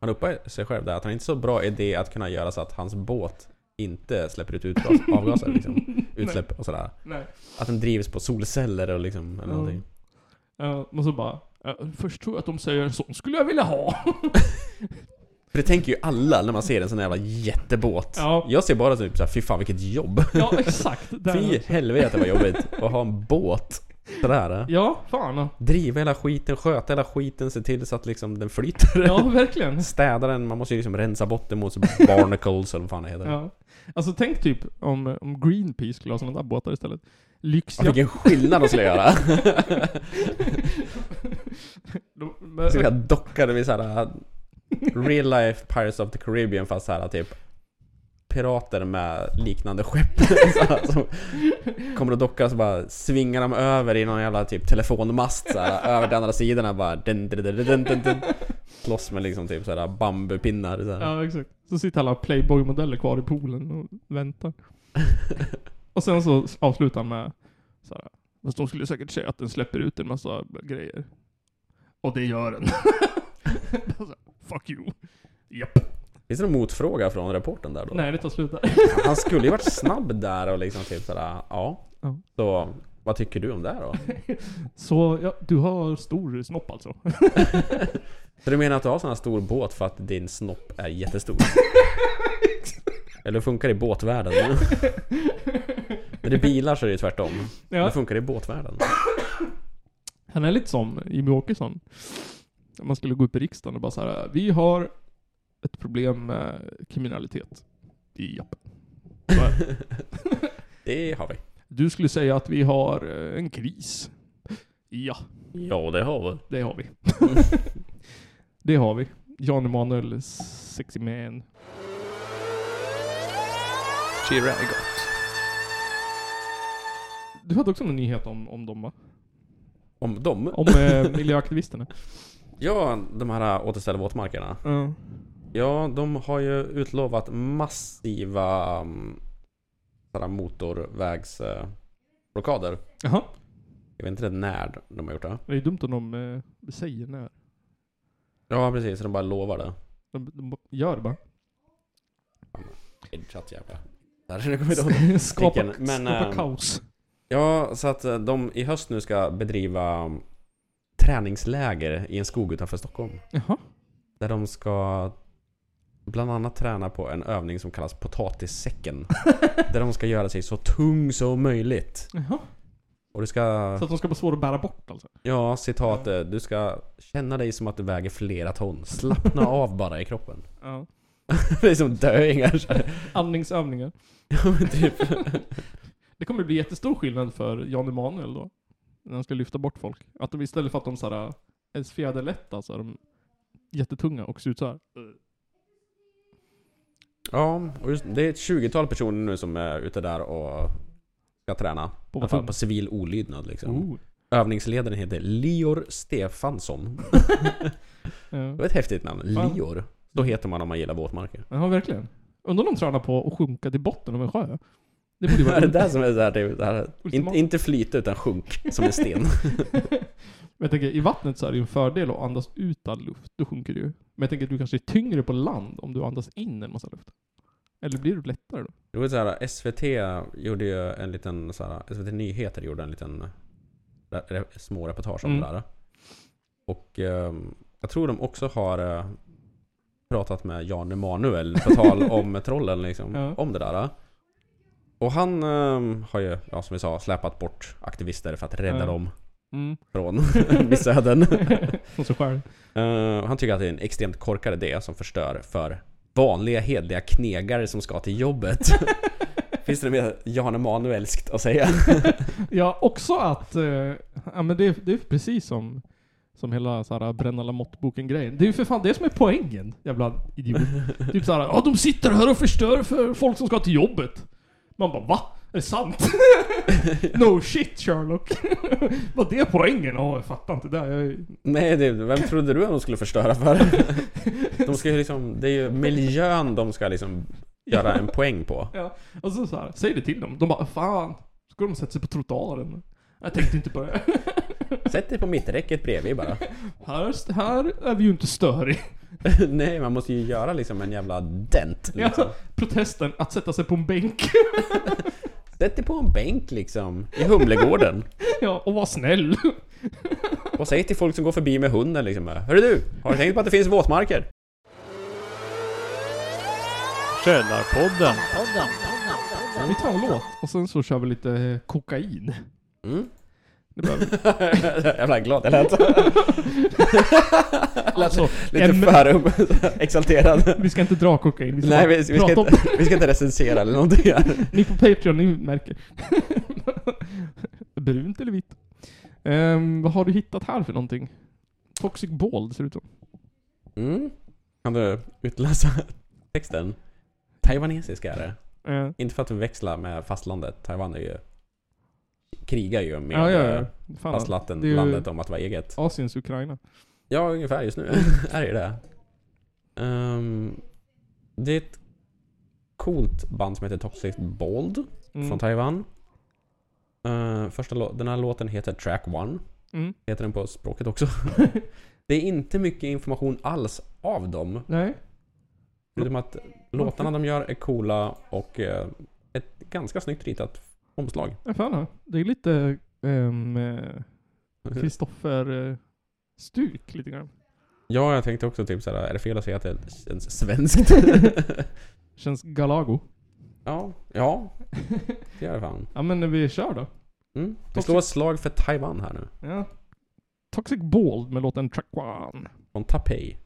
Han uppar sig själv där att han inte är så bra idé att kunna göra så att hans båt inte släpper ut utgas- avgaser liksom. Utsläpp och sådär. Nej. Att den drivs på solceller och liksom eller Ja. någonting. Ja, och så bara, ja, först tror jag att de säger en sån skulle jag vilja ha. För det tänker ju alla när man ser en sån jävla jättebåt. Ja. Jag ser bara typ såhär, fy fan vilket jobb. Ja, exakt. Där. Fy helvete vad jobbigt att ha en båt. Sådär. Ja, fan. Driva hela skiten, sköta hela skiten, se till så att liksom den flyter. Ja, verkligen. Städa den, man måste ju liksom rensa botten mot så barnacles eller vad fan det heter. Ja. Alltså tänk typ om, om Greenpeace skulle ha sådana där båtar istället. Ja, Lyxjakt. Vilken skillnad de skulle göra! De, De skulle ha dockade vid såhär Real life Pirates of the Caribbean fast såhär typ Pirater med liknande skepp så här, som Kommer och dockar och så bara svingar de över i någon jävla typ telefonmast såhär Över till andra sidan och bara dun, dun, dun, dun, dun, dun. Slåss med liksom typ såhär bambupinnar såhär. ja, exakt. Så sitter alla Playboy-modeller kvar i poolen och väntar. och sen så avslutar han med så här, Fast de skulle säkert säga att den släpper ut en massa grejer. Och det gör den. Bara så här, Fuck you. Japp. Finns det någon motfråga från reporten där då? Nej, det tar slut där. Han skulle ju varit snabb där och liksom typ sådär ja Ja. Så vad tycker du om det här då? Så ja, du har stor snopp alltså? Så du menar att du har sån här stor båt för att din snopp är jättestor? Eller hur funkar det i båtvärlden? När det är bilar så är det ju tvärtom. Ja. Hur funkar det i båtvärlden? Han är lite som Jimmy Åkesson. Om man skulle gå upp i riksdagen och bara så här. Vi har ett problem med kriminalitet. Japp. Så här, Det har vi. Du skulle säga att vi har eh, en kris. Ja, Ja, det har vi. det har vi. det har vi. Jan Emanuel, sexy man. Cheera är gott. Du hade också en nyhet om, om dem va? Om dem? Om eh, miljöaktivisterna. Ja, de här återställ våtmarkerna. Ja. Ja, de har ju utlovat massiva um, sådana motorvägsblockader. Jaha. Jag vet inte när de har gjort det. Det är ju dumt om de eh, säger när. Ja, precis. Så de bara lovar det. De, de gör det bara. Idiot jävla. Där kommer jag inte ihåg. skapa Men, skapa ehm, kaos. Ja, så att eh, de i höst nu ska bedriva um, träningsläger i en skog utanför Stockholm. Jaha. Där de ska bland annat träna på en övning som kallas potatissäcken. där de ska göra sig så tung som möjligt. Jaha. Och du ska, Så att de ska vara svåra att bära bort alltså? ja citat, eh, du ska känna dig som att du väger flera ton. Slappna av bara i kroppen. Ja. det är som döingar. så här. Andningsövningar. ja, men typ. Det kommer bli jättestor skillnad för Jan Emanuel då. När han ska lyfta bort folk. Att de istället för att de eh, såhär, är fjäderlätta så alltså, är de jättetunga och ser ut såhär. Ja, och just, det är ett 20-tal personer nu som är ute där och ska träna. I alla fall på civil olydnad liksom. Oh. Övningsledaren heter Lior Stefansson. Ja. Eh, Det var ett häftigt namn. Fan. Lior. Då heter man om man gillar våtmarker. ja, verkligen. Undrar om de tränar på att sjunka till botten av en sjö? Det borde ju Det vara är det där som är såhär, typ, det här, Ultimat. in, inte flyta utan sjunk som en sten. Men jag tänker, i vattnet så är det ju en fördel att andas ut all luft. Då sjunker du ju. Men jag tänker att du kanske är tyngre på land om du andas in en massa luft. Eller blir du lättare då? Det var så här, SVT gjorde ju en liten, så här, SVT Nyheter gjorde en liten re- re- små reportage om Mm. det där. Och ehm, jag tror de också har eh, pratat med Jan Emanuel på tal om trollen liksom, Ja. om det där. Och han ehm, har ju, ja, som vi sa, släpat bort aktivister för att rädda Ja. dem. Mm. från Missöden. Från sig själv. Eh, han tycker att det är en extremt korkad idé som förstör för vanliga hedliga knegare som ska till jobbet. Finns det något mer Jan Emanuelskt att säga? Ja, också att... Eh, ja, men det, är- det är precis som, som hela så här, bränna lamottboken-grejen. Det är ju för fan det som är poängen, jävla idiot. typ såhär, ja de sitter här och förstör för folk som ska till jobbet. Man bara, va? Är det sant? no shit Sherlock. Vad det är poängen? Ja, jag fattar inte det. Jag är... Nej, det, vem trodde du att de skulle förstöra för? De ska ju liksom, det är ju miljön de ska liksom göra en poäng på. Ja. Och så, så här, säg det till dem. De bara, fan. Ska de sätta sig på trottoaren? Jag tänkte inte på det. Sätt dig på mitträcket bredvid bara. här, här är vi ju inte störig. Nej, man måste ju göra liksom en jävla dent. Liksom. Ja, protesten att sätta sig på en bänk. Sätt dig på en bänk liksom, i Humlegården. ja, och vara snäll. Och säg till folk som går förbi med hunden liksom. Hörru du, har du tänkt på att det finns våtmarker? Källarpodden. Vi tar en låt och sen så kör vi lite eh, kokain. Mm. Det behöver vi. Jävlar glad jag lät. Alltså, Lite en- för upp- exalterad. vi ska inte dra kokain. Vi ska, Nej, bara vi, vi, ska prata inte, om... vi ska inte recensera eller någonting här. Ni på Patreon, ni märker. Brunt eller vitt? Ehm, vad har du hittat här för någonting? Toxic Ball ser det ut som. Mm. Kan du utläsa texten? Taiwanesiska är det. Eh, Inte för att växla med fastlandet. Taiwan är ju... Krigar ju med ja, ja, ja. Fan, det eh, är ju- fastlandet om att vara eget. Asiens Ukraina. Ja, ungefär just nu är det ju det. Ehm, det är ett coolt band som heter Toxic Bold Mm. från Taiwan. Eh, första lå- den här låten heter Track One. Mm. Heter den på språket också. det är inte mycket information alls av dem. Nej. Förutom att låtarna de gör är coola och eh, ett ganska snyggt ritat omslag. Ja, fan, det är lite ehm, eh, Kristoffer-stuk lite grann. Ja, jag tänkte också typ såhär, är det fel att säga att det känns svenskt? Känns Galago. ja, ja, det gör det fan. ja men vi kör då. Mm. Toxic- Vi slår ett slag för Taiwan här nu. Ja. Toxic Bald med låten Track One. Från Taipei.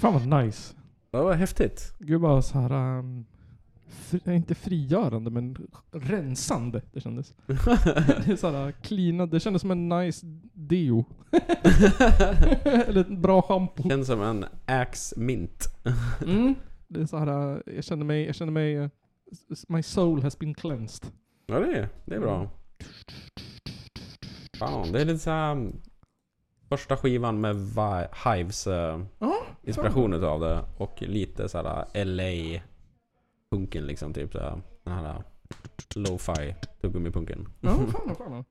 Fan vad nice. Det var häftigt. Gud bara så här... ehm, fri, inte frigörande men rensande det kändes. det är så här cleana, det kändes som en nice deo. Eller ett bra shampoo. Känns som en Axe Mint. Mm. Det är så här, eh, jag känner mig, jag känner mig... eh, s- s- My soul has been cleansed. Ja, det är, det är Mm. bra. Fan, det är lite såhär... Första skivan med Vi- Hives eh, Ja, inspiration utav det. Och lite såhär LA... Punken liksom, typ såhär. Den här lo-fi eh, tuggummipunken. Ja, fan, fan.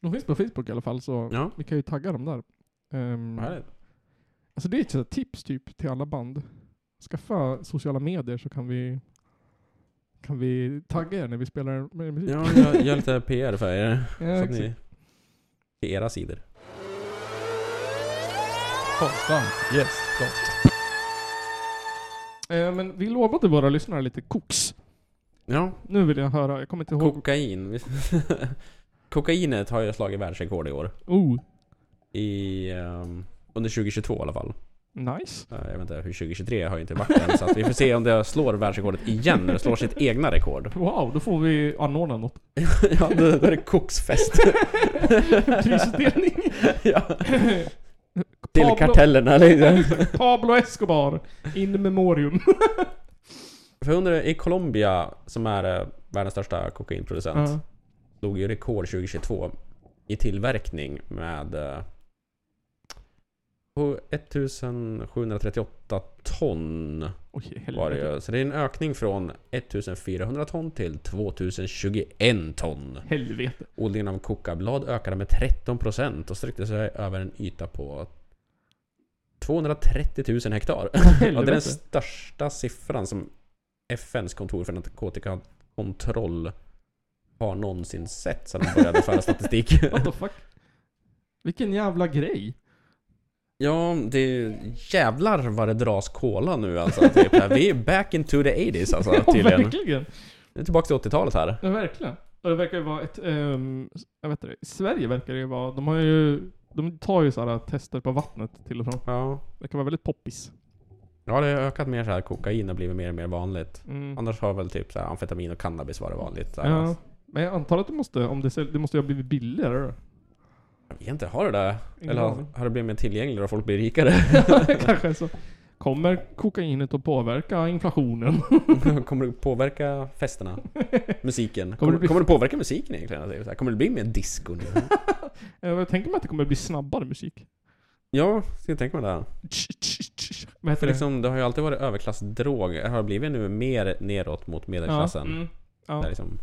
De finns på Facebook i alla fall, så Ja. vi kan ju tagga dem där. Ehm, Härligt. alltså det är ett sånt här tips typ till alla band. Skaffa sociala medier så kan vi, kan vi tagga er när vi spelar med musik. Ja, jag gör lite PR för er. Ja, så att exakt. ni... Till era sidor. Konstant. Yes. Så. Eh, men vi lovade våra lyssnare lite koks. Ja, Nu vill jag höra, jag kommer inte ihåg. kokain. Vi- Kokainet har ju slagit världsrekord i år. Oh, I, ehm, under 2022 i alla fall. nice. Eh, Jag vet inte, hur 2023 har ju inte varit än. Så att vi får se om det slår världsrekordet igen. När det slår sitt egna rekord. Wow, då får vi anordna något. ja, då, då är det koksfest. Prisutdelning. ja. Till Pablo- kartellerna liksom. Pablo Escobar, in memorium. För jag undrar, i Colombia, som är eh, världens största kokainproducent. Ja. slog ju rekord 2022 i tillverkning med eh, oh, på 1738 ton Oj, var det helvete. ju. Så det är en ökning från 1400 ton till 2021 ton. Helvete. Odlingen av kokablad ökade med 13% och sträckte sig över en yta på 230 000 hektar. Ja, det är den helvete. största siffran som FNs kontor för narkotikakontroll har någonsin sett sedan de började föra statistik. What the fuck? Vilken jävla grej. ja, det är jävlar vad det dras cola nu alltså. Typ. Vi är back into the 80s alltså Ja, tydligen. verkligen. Vi är tillbaka till 80-talet här. Ja, verkligen. Och det verkar ju vara ett... ehm, jag vet inte, i Sverige verkar det ju vara... De har ju... De tar ju sådana tester på vattnet till och från. Ja. Det kan vara väldigt poppis. ja, det har ökat mer så här. Kokain har blivit mer och mer vanligt. Mm. Annars har väl typ så här, amfetamin och cannabis varit vanligt. Så här, Ja. Men jag antar att det måste, om det, säl- det måste ju ha blivit billigare då. Jag vet inte, har det det? Ingen Eller har, aning. har det blivit mer tillgängligt och folk blir rikare? Kanske så. Kommer kokainet att påverka inflationen? kommer det påverka festerna? Musiken? Kommer Kommer, det bli- kommer det påverka musiken egentligen? Alltså, så här, Kommer det bli mer disco nu? Eh, Jag tänker mig att det kommer bli snabbare musik. ja, ska jag tänka mig det. Här. Vad heter För det? liksom, det har ju alltid varit överklassdrog. Det har blivit nu mer neråt mot medelklassen. mm. Där ja. liksom,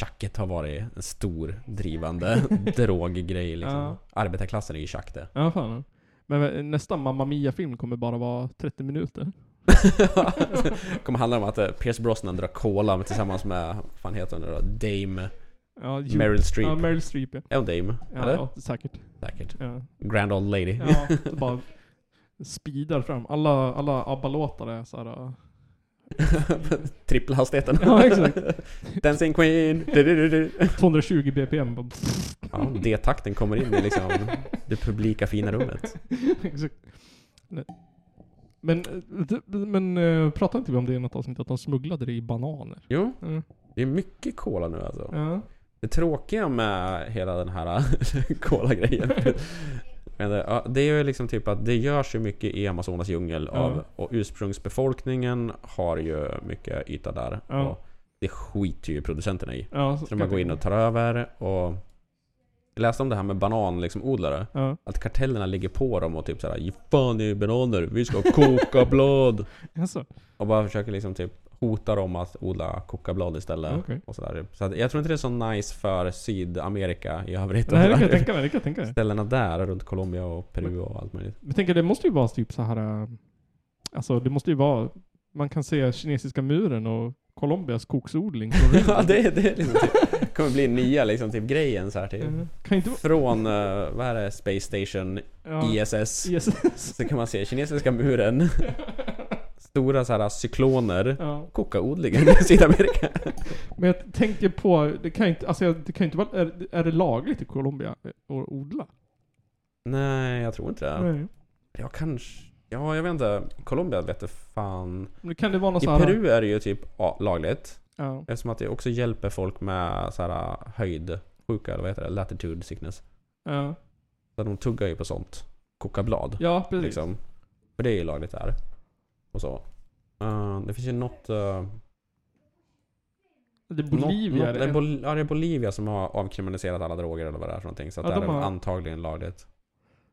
tjacket har varit en stor drivande droggrej. Liksom. Ja. Arbetarklassen är ju tjack det. ja, fan. Men eh, nästa Mamma Mia-film kommer bara vara 30 minuter. kommer handla om att eh, Pierce Brosnan drar cola med- tillsammans med, vad fan heter hon nu då? Dame Ja, ju- Meryl Streep. Ja, Meryl Streep ja. Är hon Dame? Ja, Eller? ja säkert. Säkert. Ja. Grand Old Lady. Ja, det bara speedar fram. Alla, alla ABBA-låtar är äh, såhär... Trippelhastigheten. Ja, exakt. Dancing Queen. Du, du, du, du. 220 BPM. bara- Ja, D-takten kommer in i liksom det publika fina rummet. Exakt. Nej. Men, eh, det- men eh, pratade inte vi om det i något avsnitt? Att de smugglade det i bananer? Jo, Mm. det är mycket cola nu alltså. Ja. Det tråkiga med hela den här cola-grejen. Men det, ja, det är ju liksom typ att det görs ju mycket i Amazonas djungel av, Ja. och ursprungsbefolkningen har ju mycket yta där. Ja. Och det skiter ju producenterna i. ja Så de bara går in och tar över och... Jag läste om det här med banan, liksom, odlare. Ja. Att kartellerna ligger på dem och typ såhär Ge fan i bananer, vi ska ha kokablad! Jaså? och bara försöker liksom typ hota dem att odla kokablad istället. Okej. Och sådär. Så att jag tror inte det är så nice för Sydamerika i övrigt. Nej, det kan jag Sådär. tänka mig. Det kan jag tänka mig. Ställena där runt Colombia och Peru och allt möjligt. Men tänker det måste ju vara typ så här. eh, Alltså det måste ju vara. Man kan se kinesiska muren och Colombias koksodling. från rymden. ja, det, det är liksom typ, kommer bli nya liksom, typ, grejen så här, typ. Eh, Kan inte vara. Från, eh, vad är det, Space Station Ja. ISS. ISS. Så kan man se kinesiska muren, stora så här cykloner, Ja. kokaodlingen i Sydamerika. Men jag tänker på, det kan ju inte, alltså jag- det kan ju inte vara, är, är det lagligt i Colombia att odla? Nej, jag tror inte det. Nej. Ja, kanske. Ja, jag vet inte. Colombia vet du fan. Men kan det vara någon I så här, Peru är det ju typ ja, lagligt. Ja. Eftersom att det också hjälper folk med så här höjdsjuka, eller vad heter det? Latitude sickness. Ja, Så de tuggar ju på sånt. Kokablad. ja precis. liksom. För det är ju lagligt där. Och så. Eh, det finns ju något... eh, Det är Nå- Bolivia. nå- är det det, är en- Bol- ja, det är Bolivia som har avkriminaliserat alla droger eller vad det är för någonting. Så att Ja, där de är har- det antagligen lagligt.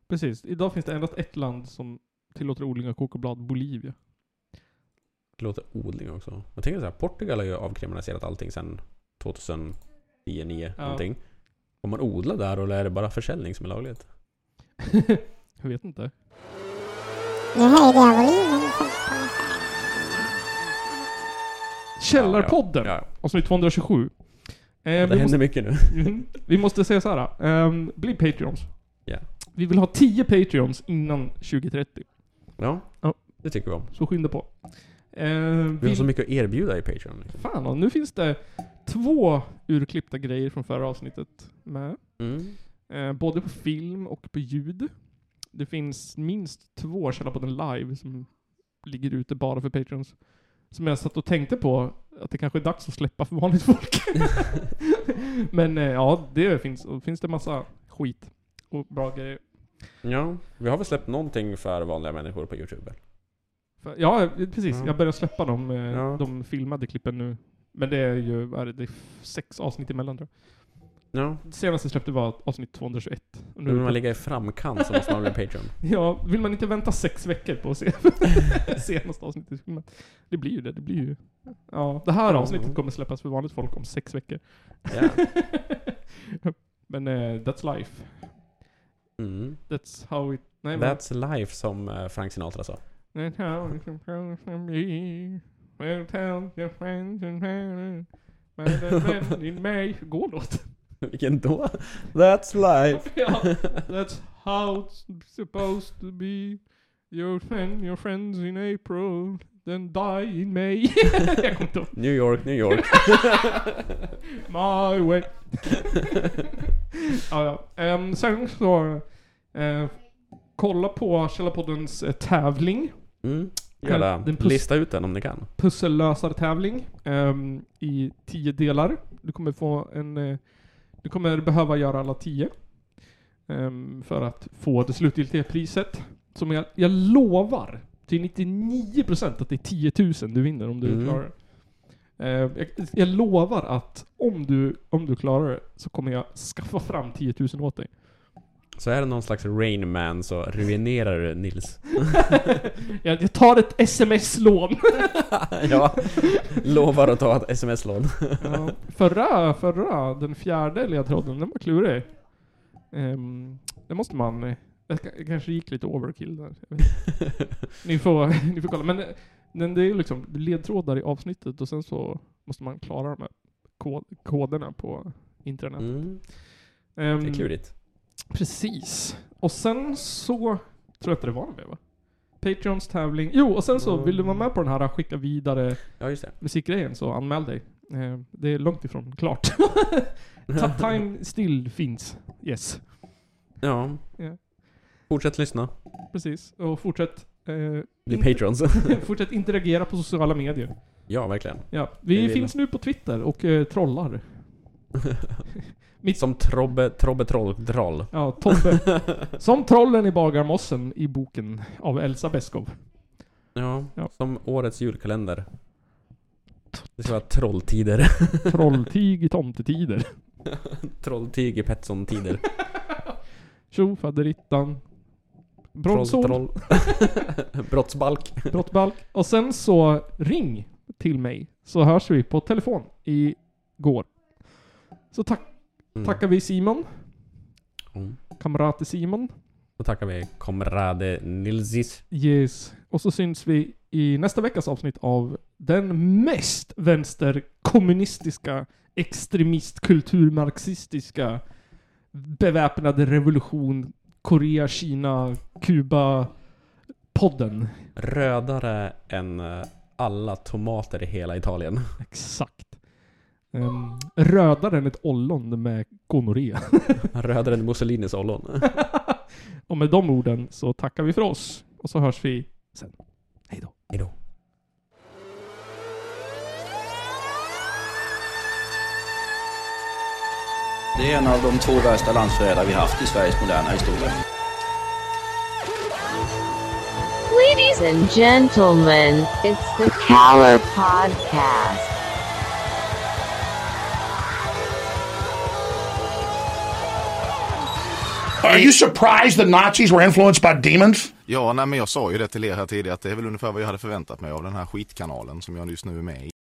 precis. Idag finns det endast ett land som tillåter odling av kokoblad, Bolivia. Det låter odling också. Jag tänker så här, Portugal har ju avkriminaliserat allting sedan 2000... 10, 9 Ja. någonting. Får man odla där eller är det bara försäljning som är lagligt? Jag vet inte. Källarpodden, Ja, ja. avsnitt 227. Eh, Det vi, händer måste, mycket nu. Mhm. vi måste säga så här. ehm, bli Patreons. Ja. Vi vill ha 10 Patreons innan 2030. Ja, Ja. det tycker vi om. Så skynda på. Ehm, Vi har vill- så mycket att erbjuda i Patreon. Liksom. Fan, och nu finns det två urklippta grejer från förra avsnittet med. Mm. Eh, både på film och på ljud. Det finns minst två Källarpodden live som ligger ute bara för Patreons. Som jag satt och tänkte på att det kanske är dags att släppa för vanligt folk. Men eh, ja, det finns. Och finns det massa skit och bra grejer. Ja, vi har väl släppt någonting för vanliga människor på Youtube? eller? För, ja, eh, precis. Ja. Jag börjar släppa de, eh, Ja. de filmade klippen nu. Men det är ju, vad är det, det är f- sex avsnitt emellan tror Ja. jag. Senaste jag släppte var avsnitt 221. Och nu Nu är vill vi på- man ligga i framkant så måste man bli Patreon. Ja, vill man inte vänta sex veckor på att se senaste avsnittet? Men det blir ju det. Det blir ju... Ja, det här avsnittet kommer släppas för vanligt folk om sex veckor. Ja. Men eh, that's life. Mm. That's how it... Nej, men- That's life som eh, Frank Sinatra sa. That's how it supposed to be. liksom Well, tell your friends and family. But the friend in May. Går låt. Vilken då? That's life. ja, that's how it's supposed to be. You send your friends in April, then die in May. Jag kommer inte ihåg. New York, New York. My way. ja, ja. Ehm, sen så... eh, kolla på Källarpoddens eh, tävling. Mm. Jävla, Den puss- lista ut den om ni kan. Pussellösartävling ehm, i tio delar. Du kommer få en... eh, du kommer behöva göra alla tio. ehm, för att få det slutgiltiga priset. Som jag, jag lovar till 99% att det är 10 000 du vinner om du Mm. klarar det. Ehm, jag, jag lovar att om du, om du klarar det så kommer jag skaffa fram 10 000 åt dig. Så är det någon slags Rain Man så ruinerar du Nils. jag, jag tar ett sms-lån. ja, lovar att ta ett sms-lån. Ja, förra, förra, den fjärde ledtråden, den var klurig. Um, det måste man... eh, Jag ska- jag kanske gick lite overkill där. Jag vet inte. ni, får, ni får kolla. Men, eh, men det är ju liksom ledtrådar i avsnittet och sen så måste man klara de här kod, koderna på internet. Mm. Ehm, Det är klurigt. Precis. Och sen så tror jag inte det var med va? Patreons tävling. Jo, och sen så Mm. vill du vara med på den här skicka vidare Ja, just det. musikgrejen så anmäl dig. Eh, Det är långt ifrån klart. Ta- Time still finns. Yes. Ja. Ja. Fortsätt lyssna. Precis. Och fortsätt, eh, Bli Inte- patrons. fortsätt interagera på sociala medier. ja, verkligen. Ja. Det Vi vill finns nu på Twitter och eh, trollar. Som Trobbe, Trobbe Troll Droll. Ja, Tobbe. Som trollen i Bagarmossen i boken av Elsa Beskow. Ja, Ja. som årets julkalender. Det ska vara trolltider. Trolltyg i tomtetider. Trolltyg i Petsson-tider. Tjo faderittan. Brottsol. Brottsbalk. Brottbalk. Och sen så ring till mig så hörs vi på telefon i går. Så tack, Mm. tackar vi Simon, Mm. kamrat till Simon. Då tackar vi Komrade Nilsis. Yes. Och så syns vi i nästa veckas avsnitt av den mest vänsterkommunistiska extremistkulturmarxistiska beväpnade revolution Korea, Kina, Kuba podden. Rödare än eh, alla tomater i hela Italien. Exakt. Um, rödare än ett ollon med gonorré. Rödare än Mussolinis ollon. Och med de orden så tackar vi för oss. Och så hörs vi sen. Hej då. Hejdå. Det är en av de två värsta landsförrädare vi haft i Sveriges moderna historia. Ladies and gentlemen, it's the Caller Podcast. Are you surprised the Nazis were influenced by demons? Ja, nej, men jag sa ju det till er här tidigare att det är väl ungefär vad jag hade förväntat mig av den här skitkanalen som jag just nu är med i.